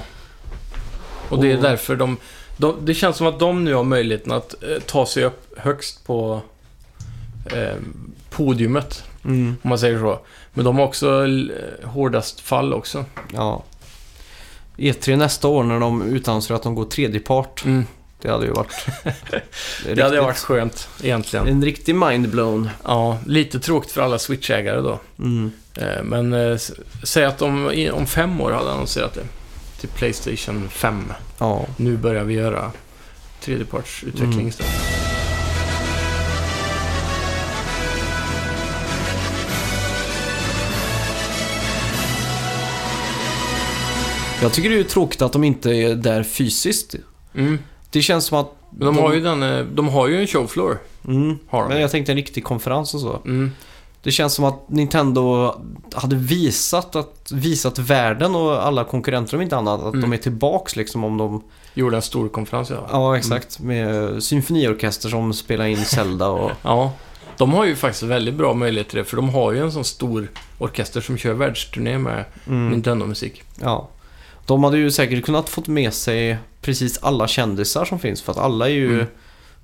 B: Och det är
A: Och-
B: därför de, de... Det känns som att de nu har möjligheten att eh, ta sig upp högst på eh, podiumet,
A: Mm.
B: om man säger så. Men de har också eh, hårdast fall också.
A: Ja. E3 nästa år när de utannonserar att de går tredjepart. Det hade ju varit...
B: Det hade varit skönt egentligen.
A: En riktig mindblown.
B: Ja, lite tråkigt för alla Switch-ägare då.
A: Mm.
B: Eh, Men eh, s- säg att om, i- om fem år hade annonserat det till Playstation 5.
A: Ja.
B: Nu börjar vi göra tredjepartsutveckling
A: Mm.
B: istället.
A: Jag tycker det är ju tråkigt att de inte är där fysiskt.
B: Mm.
A: Det känns som att...
B: Men de har ju den, eh, de har ju en showfloor.
A: Mm.
B: Har
A: Men
B: de.
A: jag tänkte en riktig konferens och så.
B: Mm.
A: Det känns som att Nintendo hade visat, att, visat världen och alla konkurrenter om inte annat att
B: Mm.
A: de är tillbaks liksom om de...
B: Gjorde en stor konferens ja. ja.
A: Ja, exakt. Med symfoniorkester som spelar in Zelda och...
B: De har ju faktiskt väldigt bra möjlighet till det, för de har ju en sån stor orkester som kör världsturné med
A: Mm.
B: Nintendo-musik.
A: Ja. De hade ju säkert kunnat fått med sig precis alla kändisar som finns för att alla är ju
B: Mm.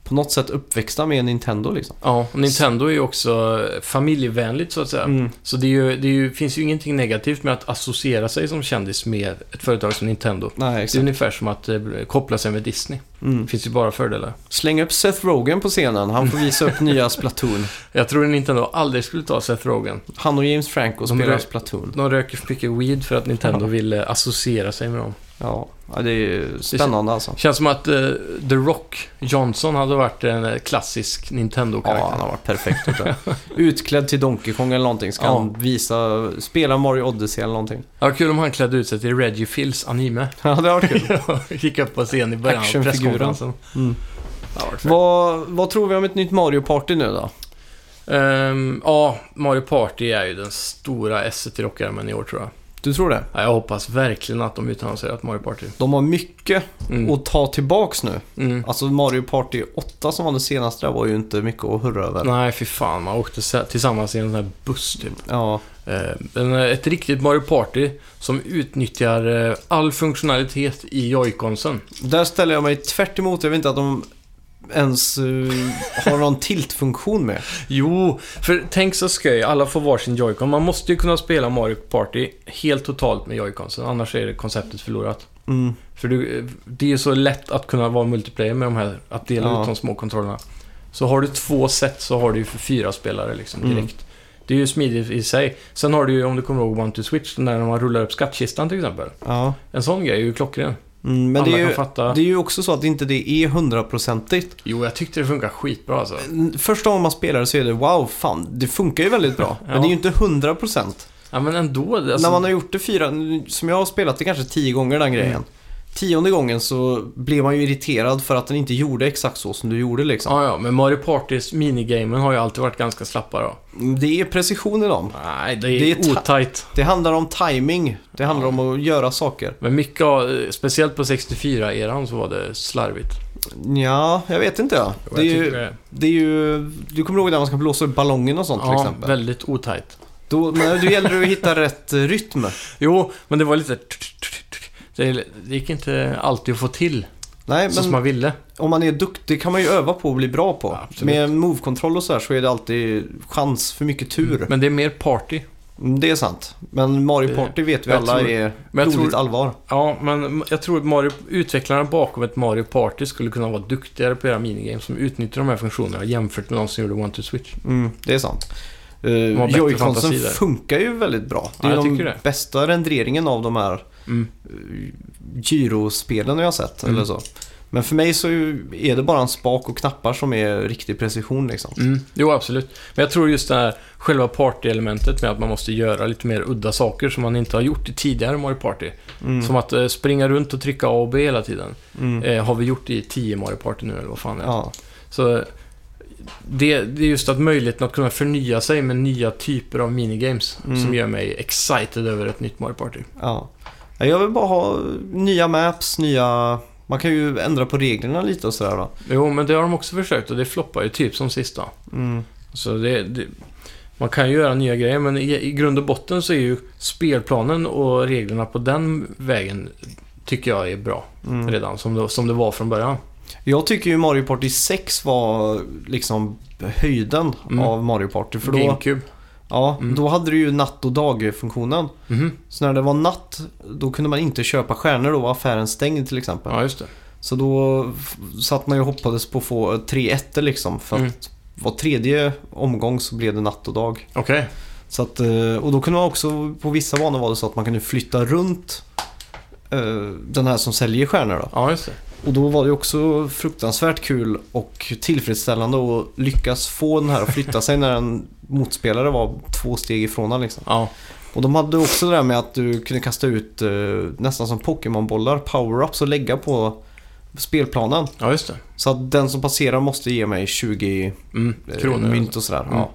A: på något sätt uppväxta med Nintendo liksom.
B: Ja, och Nintendo är ju också familjevänligt så att säga.
A: Mm.
B: Så det, är ju, det är ju, finns ju ingenting negativt med att associera sig som kändis med ett företag som Nintendo.
A: Nej,
B: Det är
A: exakt.
B: ungefär som att eh, koppla sig med Disney.
A: Mm.
B: Det finns ju bara fördelar.
A: Släng upp Seth Rogen på scenen. Han får visa upp nya Splatoon.
B: Jag tror Nintendo aldrig skulle ta Seth Rogen.
A: Han och James Franco
B: De
A: spelar
B: rö-
A: Splatoon.
B: De röker för mycket weed för att Nintendo ville associera sig med dem.
A: Ja, ja det är ju spännande alltså.
B: Känns som att eh, The Rock Johnson hade varit en eh, klassisk
A: Ja,
B: Nintendo-karaktär.
A: han har varit perfekt. tror jag. Utklädd till Donkey Kong eller någonting. Ska
B: Ja.
A: han visa, spela Mario Odyssey eller någonting.
B: Ja, kul om han klädde ut sig till Reggie Fils anime.
A: Ja, det var kul.
B: Gick upp på scen i början av
A: Actionfiguren.
B: presskonferensen.
A: Mm.
B: Ja, varför?
A: vad, vad tror vi om ett nytt Mario Party nu då?
B: Ehm, ja, Mario Party är ju den stora esset i rockärmen i år tror jag.
A: Du tror det?
B: Ja, jag hoppas verkligen att de utannonserar ett Mario Party.
A: De har mycket
B: Mm.
A: att ta tillbaks nu.
B: Mm.
A: Alltså Mario Party 8 som var det senaste där var ju inte mycket att hurra över.
B: Nej, fy fan. Man åkte se- tillsammans i en sån här buss typ.
A: Ja,
B: Eh, men, eh, ett riktigt Mario Party som utnyttjar eh, all funktionalitet i joyconsen.
A: där ställer jag mig tvärt emot. Jag vet inte att de ens eh, har någon tiltfunktion med.
B: Jo, för tänk så sköj. Alla får varsin joycon. Man måste ju kunna spela Mario Party helt totalt med joyconsen. Annars är det konceptet förlorat.
A: Mm.
B: För du, det är ju så lätt att kunna vara multiplayer med de här, att dela
A: Ja.
B: ut de små kontrollerna. Så har du två set så har du ju för fyra spelare liksom
A: Mm.
B: direkt. Det är ju smidigt i sig. Sen har du ju, om du kommer ihåg One to Switch, när man rullar upp skattkistan till exempel.
A: Ja.
B: En sån grej är ju klockren.
A: Mm, men
B: Alla
A: det är,
B: kan
A: ju,
B: fatta.
A: det är ju också så att inte det är hundraprocentigt.
B: Jo, jag tyckte det funkar skitbra alltså.
A: Första gången man spelar så är det wow, fan, det funkar ju väldigt bra.
B: Ja.
A: Men det är ju inte 100%. procent.
B: Ja, men ändå. Alltså,
A: När man har gjort det fyra, som jag har spelat det kanske tio gånger den grejen.
B: Mm.
A: Tionde gången så blev man ju irriterad för att den inte gjorde exakt så som du gjorde liksom.
B: Ja, ja, men Mario Partys minigamen har ju alltid varit ganska slappa då.
A: Det är precision i dem.
B: Nej, det är,
A: Det är ta-
B: otajt.
A: Det handlar om timing. Det handlar om att göra saker.
B: Men mycket av, speciellt på 64-eran så var det slarvigt.
A: Ja, jag vet inte ja.
B: Jo,
A: Det är,
B: jag tycker
A: ju, det är ju... Du kommer ihåg när man ska blåsa upp ballongen och sånt till
B: Ja,
A: exempel?
B: väldigt otajt.
A: Då, men då gäller det att hitta rätt eh, rytm.
B: Jo, men det var lite... Det det gick inte alltid att få till
A: Nej,
B: så som
A: men
B: man ville.
A: om man är duktig kan man ju öva på och bli bra på.
B: Ja, absolut.
A: Med move-kontroll och så här så är det alltid chans för mycket tur.
B: Mm, Men det är mer party.
A: Mm, Det är sant. Men Mario
B: Det-
A: Party vet vi
B: jag
A: alla
B: tror-
A: är
B: Men jag
A: blodigt
B: tror,
A: allvar.
B: ja, men jag tror att Mario, utvecklarna bakom ett Mario Party skulle kunna vara duktigare på era minigames som utnyttjar de här funktionerna jämfört med de som gjorde One to Switch.
A: Mm, det är sant. Uh,
B: har bättre
A: Joy-Consen
B: fantasi där.
A: funkar ju väldigt bra. Det
B: Ja,
A: är
B: jag
A: ju
B: tycker
A: den
B: det.
A: bästa renderingen av de här
B: Mm.
A: eh, gyrospelen jag har sett.
B: Mm.
A: Eller så. Men för mig så är det bara en spak och knappar som är riktig precision liksom.
B: Mm. Jo, absolut. Men jag tror just det här själva party-elementet med att man måste göra lite mer udda saker som man inte har gjort i tidigare Mario Party.
A: Mm.
B: Som att eh, springa runt och trycka A och B hela tiden.
A: Mm.
B: Eh, har vi gjort i 10 Mario Party nu eller vad fan är det?
A: Ja.
B: Så det, det är just att möjligheten att kunna förnya sig med nya typer av minigames
A: Mm.
B: som gör mig excited över ett nytt Mario Party.
A: Ja. Ja, Jag vill bara ha nya maps, nya... Man kan ju ändra på reglerna lite och sådär va.
B: Jo, men det har de också försökt och det floppar ju typ som sista.
A: Mm.
B: Så det, det, man kan ju göra nya grejer, men i, i grund och botten så är ju spelplanen och reglerna på den vägen tycker jag är bra
A: Mm.
B: redan, som det, som det var från början.
A: Jag tycker ju Mario Party 6 var liksom höjden
B: Mm.
A: av Mario Party. För då,
B: GameCube.
A: ja,
B: Mm.
A: då hade du ju natt och dag-funktionen.
B: Mhm.
A: Så när det var natt, då kunde man inte köpa stjärnor. Då var affären stängd till exempel.
B: Ja, just det.
A: Så då f- satt man ju och hoppades på att få tre ettor liksom. För
B: Mm.
A: att var tredje omgång så blev det natt och dag.
B: Okej.
A: Så att, eh, och då kunde man också, på vissa banor var det så att man kunde flytta runt eh, den här som säljer stjärnor då.
B: Ja, just det.
A: Och då var det också fruktansvärt kul och tillfredsställande att lyckas få den här att flytta sig när en motspelare var två steg ifrån den liksom.
B: Ja.
A: Och de hade också det där med att du kunde kasta ut eh, nästan som Pokémon-bollar, power-ups och lägga på spelplanen.
B: ja, just det.
A: Så att den som passerar måste ge mig 20
B: Mm.
A: eh,
B: Kronor.
A: mynt och sådär.
B: Mm.
A: Ja.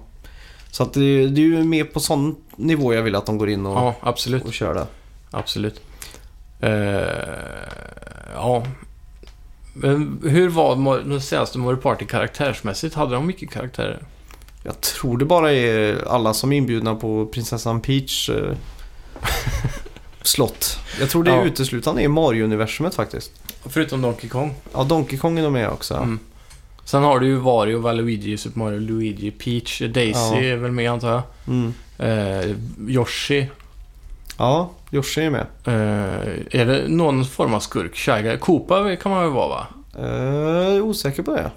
A: Så att det, det är ju mer på sån nivå jag vill att de går in och,
B: Ja, absolut.
A: och kör det.
B: Absolut. Eh, ja. Men hur var Mar- den senaste Mario Party karaktärsmässigt? Hade de mycket karaktärer?
A: Jag tror det bara är alla som är inbjudna på prinsessan Peach eh, slott. Jag tror det är
B: Ja.
A: uteslutande i Mario-universumet faktiskt.
B: Förutom Donkey Kong.
A: Ja, Donkey Kong är nog med också.
B: Mm. Sen har du ju Wario, Waluigi, Super Mario, Luigi, Peach, Daisy
A: Ja.
B: är väl med antar jag.
A: Mm.
B: Eh, Yoshi.
A: Ja, Yoshi är med.
B: Eh, är det någon form av skurk? Shy Guy? Koopa kan man väl vara va?
A: Eh, osäker på det.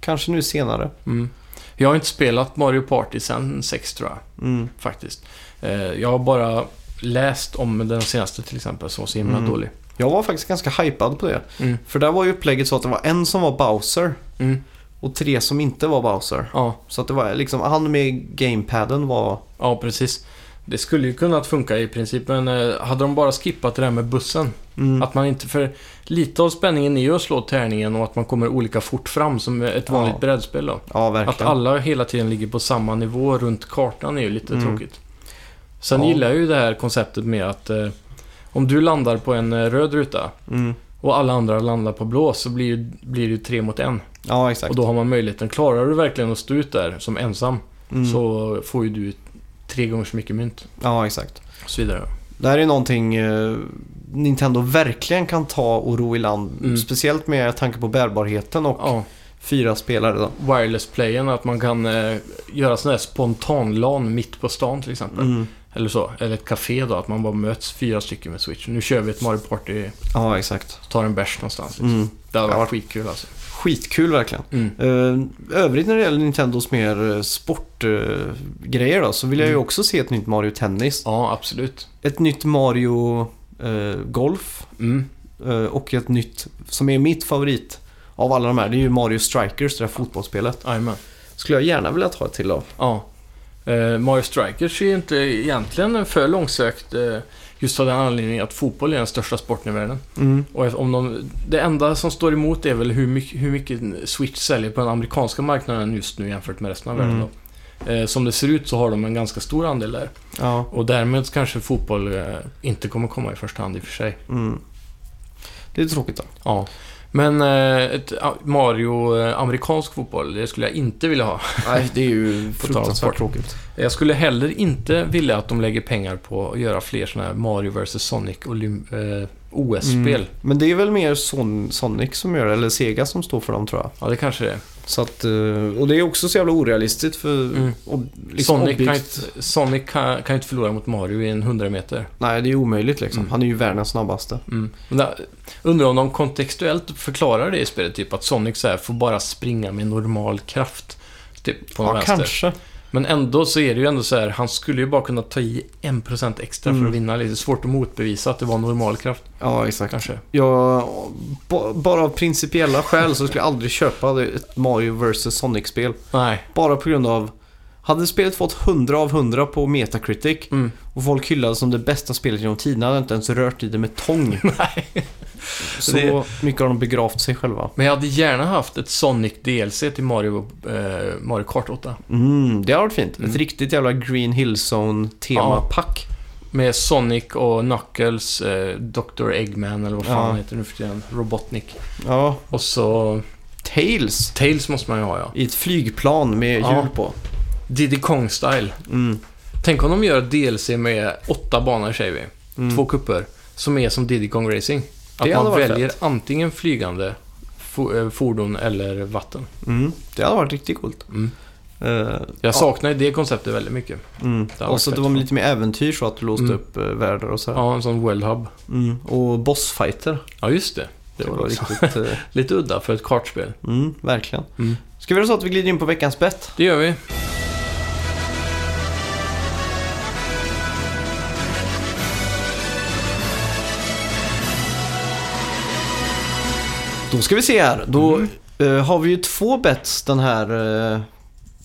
A: Kanske nu senare.
B: Mm. Jag har inte spelat Mario Party sen 6 tror jag.
A: Mm.
B: faktiskt. Eh, jag har bara läst om den senaste till exempel, som var så himla
A: Mm.
B: dålig.
A: Jag var faktiskt ganska hypad på det.
B: Mm.
A: För där var ju upplägget så att det var en som var Bowser
B: Mm.
A: och tre som inte var Bowser.
B: Ja,
A: Så att det var liksom, han med gamepaden var...
B: ja, precis. Det skulle ju kunnat funka i princip, men eh, hade de bara skippat det där med bussen.
A: Mm.
B: Att man inte, för lite av spänningen är ju att slå tärningen och att man kommer olika fort fram som ett vanligt
A: Ja.
B: brädspel då.
A: Ja,
B: Att
A: verkligen.
B: alla hela tiden ligger på samma nivå runt kartan är ju lite
A: Mm.
B: tråkigt. Sen
A: Ja.
B: gillar jag ju det här konceptet med att eh, om du landar på en eh, röd ruta
A: Mm.
B: och alla andra landar på blå så blir, ju- blir det ju tre mot en.
A: Ja, exakt.
B: Och då har man möjligheten. Klarar du verkligen att stå ut där som ensam
A: Mm.
B: så får ju du tre gånger så mycket mynt.
A: Ja, exakt.
B: Och så vidare.
A: Det här är någonting eh, Nintendo verkligen kan ta och ro i land.
B: Mm.
A: Speciellt med tanke på bärbarheten och
B: Ja,
A: fyra spelare. Då.
B: wireless-playen, att man kan eh, göra sån här spontan-LAN mitt på stan till exempel.
A: Mm.
B: Eller så. Eller ett café då, att man bara möts fyra stycken med Switch. Nu kör vi ett Mario Party,
A: Ja, exakt.
B: tar en bärs någonstans. Liksom.
A: Mm.
B: Det hade
A: Ja.
B: varit skitkul alltså.
A: Skitkul verkligen.
B: Mm.
A: Uh, övrigt när det gäller Nintendos mer eh, sportgrejer då så vill jag ju
B: Mm.
A: också se ett nytt Mario Tennis.
B: Ja, absolut.
A: Ett nytt Mario eh, Golf
B: Mm.
A: eh, och ett nytt som är mitt favorit av alla de här. Det är ju Mario Strikers, det där fotbollsspelet.
B: Jajamän.
A: Skulle jag gärna vilja ta ett till av.
B: Ja. Eh, Mario Strikers är ju inte egentligen för långsökt eh, just av den anledningen att fotboll är den största sporten i världen.
A: Mm.
B: Och eff- om de, det enda som står emot är väl hur mycket, hur mycket Switch säljer på den amerikanska marknaden just nu jämfört med resten av
A: Mm.
B: världen. Då. Eh, som det ser ut så har de en ganska stor andel där.
A: Ja.
B: Och därmed så kanske fotboll eh, inte kommer komma i första hand i och för sig.
A: Mm. Det är tråkigt då.
B: Ja. Men eh, ett a- Mario, eh, amerikansk fotboll, det skulle jag inte vilja ha.
A: Nej, det är ju
B: fruktansvärt
A: fruktansvärt tråkigt.
B: Jag skulle heller inte vilja att de lägger pengar på att göra fler sådana här Mario vs Sonic Olymp- eh, OS-spel.
A: Mm. Men det är väl mer Son- Sonic som gör det, eller Sega som står för dem tror jag.
B: Ja, det kanske det är.
A: Så att, eh, och det är också så jävla orealistiskt för...
B: Mm.
A: Och, liksom,
B: Sonic, kan
A: objekt-
B: inte, Sonic kan, kan inte förlora mot Mario i en 100 meter.
A: Nej, det är omöjligt liksom.
B: Mm.
A: Han är ju världens snabbaste.
B: Mm. Men där- Undrar om de kontextuellt förklarar det i spelet, typ att Sonic så här får bara springa med normal kraft. Typ på
A: Ja,
B: ja, vänster.
A: kanske.
B: Men ändå så är det ju ändå så här, han skulle ju bara kunna ta i 1% extra för
A: Mm.
B: att vinna. Det är svårt att motbevisa att det var normal kraft,
A: Ja, exakt.
B: kanske.
A: Jag, ba- bara av principiella skäl så skulle jag aldrig köpa ett Mario vs Sonic-spel.
B: Nej.
A: Bara på grund av... Hade spelet fått 100 av 100 på Metacritic
B: Mm.
A: och folk hyllade som det bästa spelet genom tiden hade jag inte ens rört i det med tång.
B: Nej.
A: Så
B: Det-
A: mycket har de begravt sig själva.
B: Men jag hade gärna haft ett Sonic DLC till Mario, eh, Mario Kart 8.
A: Mm, det har varit fint.
B: Mm.
A: Ett riktigt jävla Green Hill Zone-temapack.
B: Med Sonic och Knuckles, eh, Dr. Eggman eller vad fan
A: Ja.
B: han heter nu för tiden. Robotnik.
A: Ja.
B: Och så
A: Tails
B: Tails måste man ju ha ja.
A: i ett flygplan med
B: Ja.
A: hjul på.
B: Diddy Kong-style.
A: Mm.
B: Tänk om de gör ett DLC med åtta banor säger vi.
A: Mm.
B: Två kupper Som är som Diddy Kong Racing. Att
A: Det hade
B: man
A: varit
B: väljer antingen flygande fo- eh, fordon eller vatten.
A: Mm. Det hade varit riktigt coolt.
B: Mm.
A: Eh,
B: Jag saknar ju det konceptet väldigt mycket.
A: mm.
B: hade
A: Och så
B: varit
A: det var
B: fett.
A: lite mer äventyr så att du låste
B: Mm.
A: upp eh, världar och så. här.
B: Ja, en sån World Hub.
A: Mm. Och bossfighter.
B: Ja, just det.
A: Det var
B: också
A: riktigt... eh,
B: lite udda för ett kartspel.
A: mm, verkligen.
B: Mm.
A: Ska vi göra så att vi glider in på veckans bett?
B: Det gör vi.
A: Då ska vi se här. Då eh, har vi ju två bets den här eh,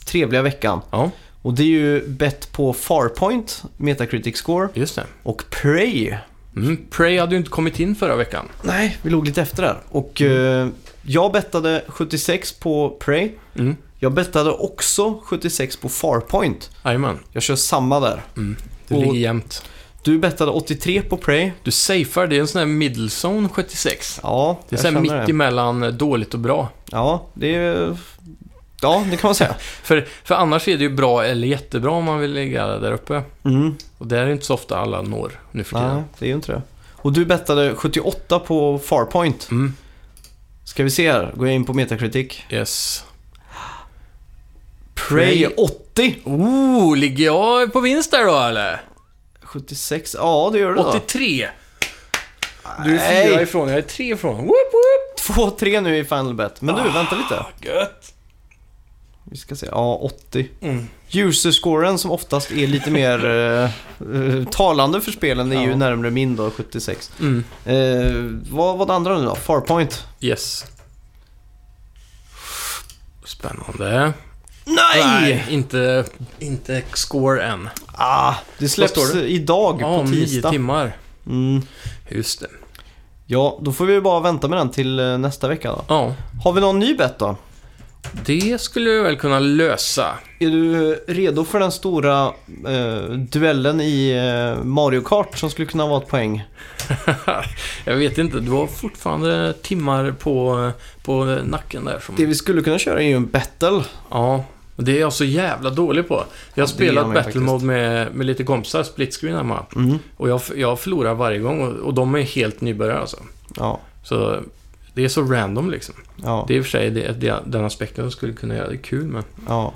A: trevliga veckan.
B: Ja,
A: Och det är ju bett på Farpoint, Metacritic Score
B: just det.
A: och Prey.
B: Mm. Prey hade ju inte kommit in förra veckan.
A: Nej, vi låg lite efter där. Och eh, jag bettade 76 på Prey.
B: Mm.
A: Jag bettade också 76 på Farpoint.
B: Jajamän.
A: Jag kör samma där.
B: Det
A: Och-
B: ligger jämnt.
A: Du bettade 83 på Prey.
B: Du safear, det är en sån här middle zone 76.
A: Ja,
B: Det är
A: jag
B: sån
A: känner
B: här mitt
A: det.
B: emellan eh, dåligt och bra.
A: Ja, det är... Ja, det kan man säga.
B: För, för annars är det ju bra eller jättebra om man vill ligga där uppe.
A: Mm.
B: Och där är det inte så ofta alla når nu för
A: Nej,
B: tiden.
A: det är ju inte det. Och du bettade 78 på Farpoint.
B: Mm.
A: Ska vi se här, går jag in på Metacritic.
B: Yes.
A: Prey 80!
B: Oh, ligger jag på vinst där då eller?
A: 76, ja det gör du då.
B: 83! Du är fyra
A: Nej,
B: ifrån, jag är tre ifrån. Whoop, whoop.
A: Ah. 2-3 nu i Final Bet. Men du, vänta lite.
B: Gött!
A: Vi ska se, ja 80.
B: Mm.
A: User-scoren som oftast är lite mer eh, eh, talande för spelen är ju
B: Ja.
A: närmare min då, 76.
B: Mm.
A: Eh, vad var det andra nu då? Farpoint?
B: Yes. Spännande.
A: Nej!
B: inte, inte score än.
A: Ah, det
B: Vad
A: släpps
B: står
A: idag
B: Ja, om
A: på
B: nio
A: tisdag.
B: timmar.
A: Mm.
B: Just det.
A: Ja, då får vi bara vänta med den till eh, nästa vecka då.
B: Ja,
A: Har vi någon ny bett då?
B: det skulle vi väl kunna lösa.
A: Är du eh, redo för den stora eh, duellen i eh, Mario Kart som skulle kunna vara ett poäng?
B: Jag vet inte, du har fortfarande timmar på, på nacken där. Som...
A: Det vi skulle kunna köra är ju en battle.
B: Ja, och det är jag så jävla dålig på. Jag har
A: det är jag
B: spelat
A: med
B: Battle
A: faktiskt.
B: Mode med, med lite kompisar, split screen hemma.
A: Mm.
B: Och jag, jag förlorar varje gång och, och de är helt nybörjare alltså.
A: Ja,
B: Så det är så random liksom.
A: ja,
B: Det är i och för sig det, det, den aspekten som skulle kunna göra det kul men...
A: ja.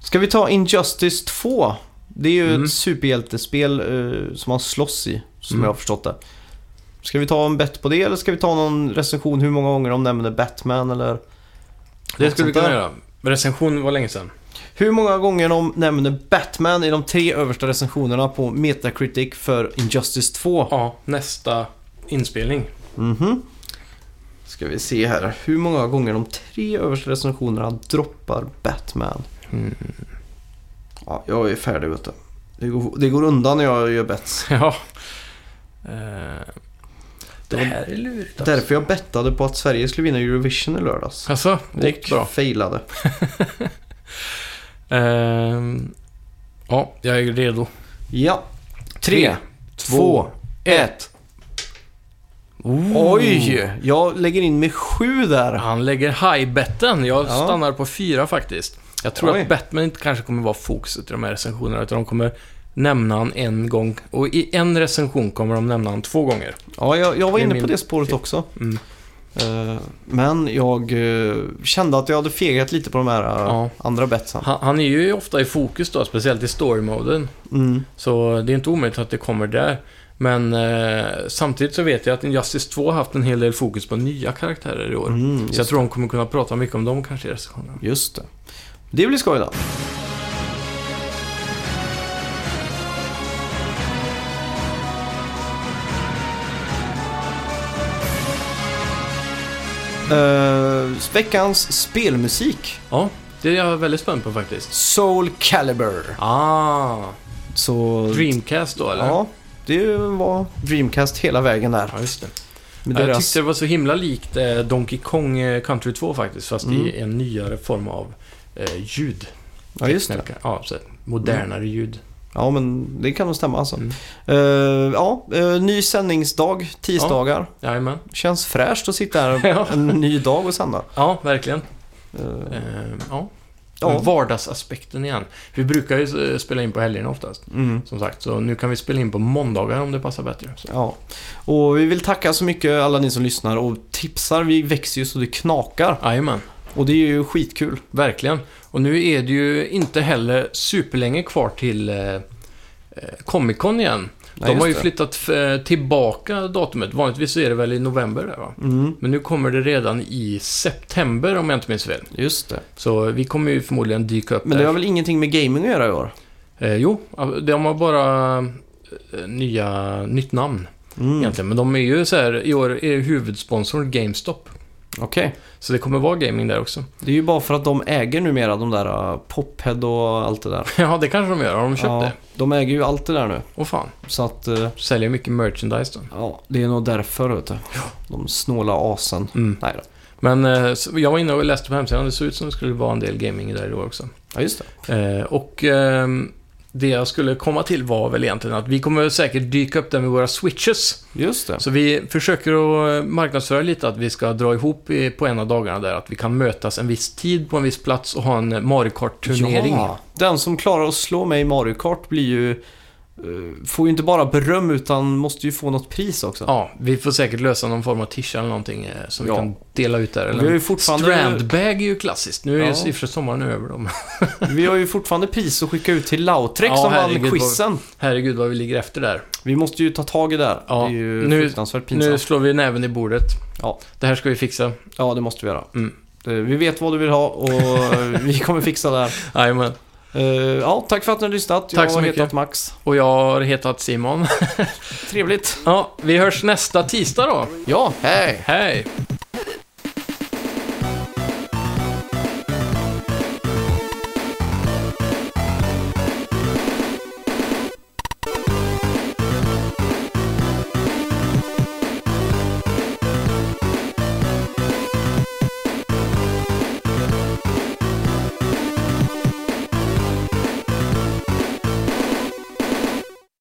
A: Ska vi ta Injustice 2? Det är ju
B: Mm.
A: ett superhjältespel eh, som man slåss i, som
B: Mm.
A: jag har förstått det. Ska vi ta en bett på det eller ska vi ta någon recension hur många gånger de nämner Batman eller?
B: Det skulle vi
A: sånt där.
B: kunna göra. Recension var länge sedan.
A: Hur många gånger de nämner Batman i de tre översta recensionerna på Metacritic för Injustice 2?
B: Ja, nästa inspelning.
A: Mhm. Ska vi se här. Hur många gånger de tre översta recensionerna droppar Batman? Ja, jag är färdig vet du. Det går, det går undan när jag gör bets.
B: Ja. Eh, det här är lurigt alltså.
A: Därför jag bettade på att Sverige skulle vinna Eurovision i lördags.
B: Alltså, det gick
A: Och
B: bra.
A: failade.
B: Ehm, ja, jag är redo.
A: Ja. Tre, två,
B: två,
A: ett. Mm. Oj! Jag lägger in med sju där.
B: Han lägger high-betten. Jag
A: Ja.
B: stannar på fyra faktiskt. Jag tror
A: Oj.
B: att Batman inte kanske kommer vara fokuset i de här recensionerna, utan de kommer nämna han en gång. Och i en recension kommer de nämna han två gånger.
A: Ja, jag, jag var
B: Det är
A: inne på
B: min-
A: det spåret också.
B: Mm.
A: Eh, Men jag eh, kände att jag hade fegat lite på de här eh,
B: Ja.
A: andra betsen.
B: Han, han är ju ofta i fokus då, speciellt i story-moden.
A: Mm.
B: Så det är inte omöjligt att det kommer där. Men eh, samtidigt så vet jag att Injustice 2 har haft en hel del fokus på nya karaktärer i år.
A: Mm, just
B: så jag tror de kommer kunna prata mycket om dem kanske i recensionerna.
A: Just det. Det blir skoj då. Eh, veckans spelmusik,
B: Ja, det är jag väldigt spänd på faktiskt.
A: Soul Calibur.
B: Ah,
A: Så,
B: Dreamcast då eller?
A: Ja, det var Dreamcast hela vägen där.
B: Ja, just det.
A: Med
B: Jag
A: deras
B: tyckte det var så himla likt eh, Donkey Kong eh, Country 2 faktiskt, fast
A: Mm.
B: i en nyare form av eh, ljud.
A: Ja, just det.
B: Ja, så här modernare ljud.
A: Ja, men det kan nog stämma alltså.
B: Mm.
A: Eh, ja, eh, ny sändningsdag, tisdagar.
B: Jajamän.
A: Känns fräscht att sitta här
B: Ja.
A: en ny dag och sända.
B: Ja, verkligen.
A: Eh,
B: Eh, ja.
A: Ja.
B: Men Vardagsaspekten igen. Vi brukar ju eh, spela in på helgerna oftast,
A: mm,
B: som sagt. Så nu kan vi spela in på måndagar om det passar bättre. Så.
A: ja. Och vi vill tacka så mycket alla ni som lyssnar och tipsar. Vi växer ju så det knakar.
B: Jajamän,
A: Och det är ju skitkul.
B: verkligen. Och nu är det ju inte heller superlänge kvar till eh, eh, Comic Con igen.
A: Ja,
B: De
A: just
B: har ju
A: det.
B: flyttat eh, tillbaka datumet. Vanligtvis så är det väl i november där va?
A: Mm,
B: Men nu kommer det redan i september om jag inte minns fel.
A: just det.
B: Så vi kommer ju förmodligen dyka upp
A: Men det
B: där.
A: har väl ingenting med gaming att göra i år?
B: Eh, jo, de har bara eh, nya, nytt namn
A: Mm,
B: egentligen. Men de är ju så här, i år är huvudsponsorn GameStop.
A: Okej.
B: Så det kommer vara gaming där också.
A: Det är ju bara för att de äger numera de där uh, Pophead och allt det där.
B: ja, det kanske de gör. Har de köpt det?
A: De äger ju allt det där nu.
B: Åh fan,
A: Så att... eh,
B: säljer mycket merchandise då.
A: Ja, det är nog därför vet du. De snåla asen.
B: Mm.
A: Nej då.
B: Men eh, så- jag var inne och läste på hemsidan. Det såg ut som det skulle vara en del gaming där i år också.
A: Ja, just det.
B: Eh, och ehm, det jag skulle komma till var väl egentligen att vi kommer säkert dyka upp där med våra switches.
A: Just det.
B: Så vi försöker att eh, marknadsföra lite att vi ska dra ihop i- på en av dagarna där, att vi kan mötas en viss tid på en viss plats och ha en Mario Kart-turnering.
A: Ja. Den som klarar att slå mig i Mario Kart blir ju... eh, får ju inte bara beröm utan måste ju få något pris också.
B: Ja, vi får säkert lösa någon form av tisha eller någonting eh, som
A: Ja.
B: vi kan dela ut där. Eller
A: Vi har ju
B: en
A: fortfarande-
B: Strandbag är ju klassiskt. Nu
A: Ja.
B: är i och för sig sommaren över då. men
A: Vi har ju fortfarande pris att skicka ut till Lautrec
B: Ja,
A: som vann
B: herregud, vad-
A: quizen.
B: Herregud vad vi ligger efter där.
A: Vi måste ju ta tag i det här.
B: Ja,
A: Det är ju
B: nu-
A: fruktansvärt
B: Nu
A: pinsamt.
B: slår vi näven i bordet.
A: Ja.
B: Det här ska vi fixa.
A: Ja, det måste vi göra.
B: Mm.
A: Eh, Vi vet vad du vill ha och eh, vi kommer fixa det här.
B: Jajamän.
A: Eh, Ja, tack för att ni har lyssnat. Jag
B: Tack så
A: har
B: mycket.
A: hetat Max.
B: Och jag har hetat Simon.
A: Trevligt.
B: Ja, vi hörs nästa tisdag då.
A: Ja, hej!
B: Hej!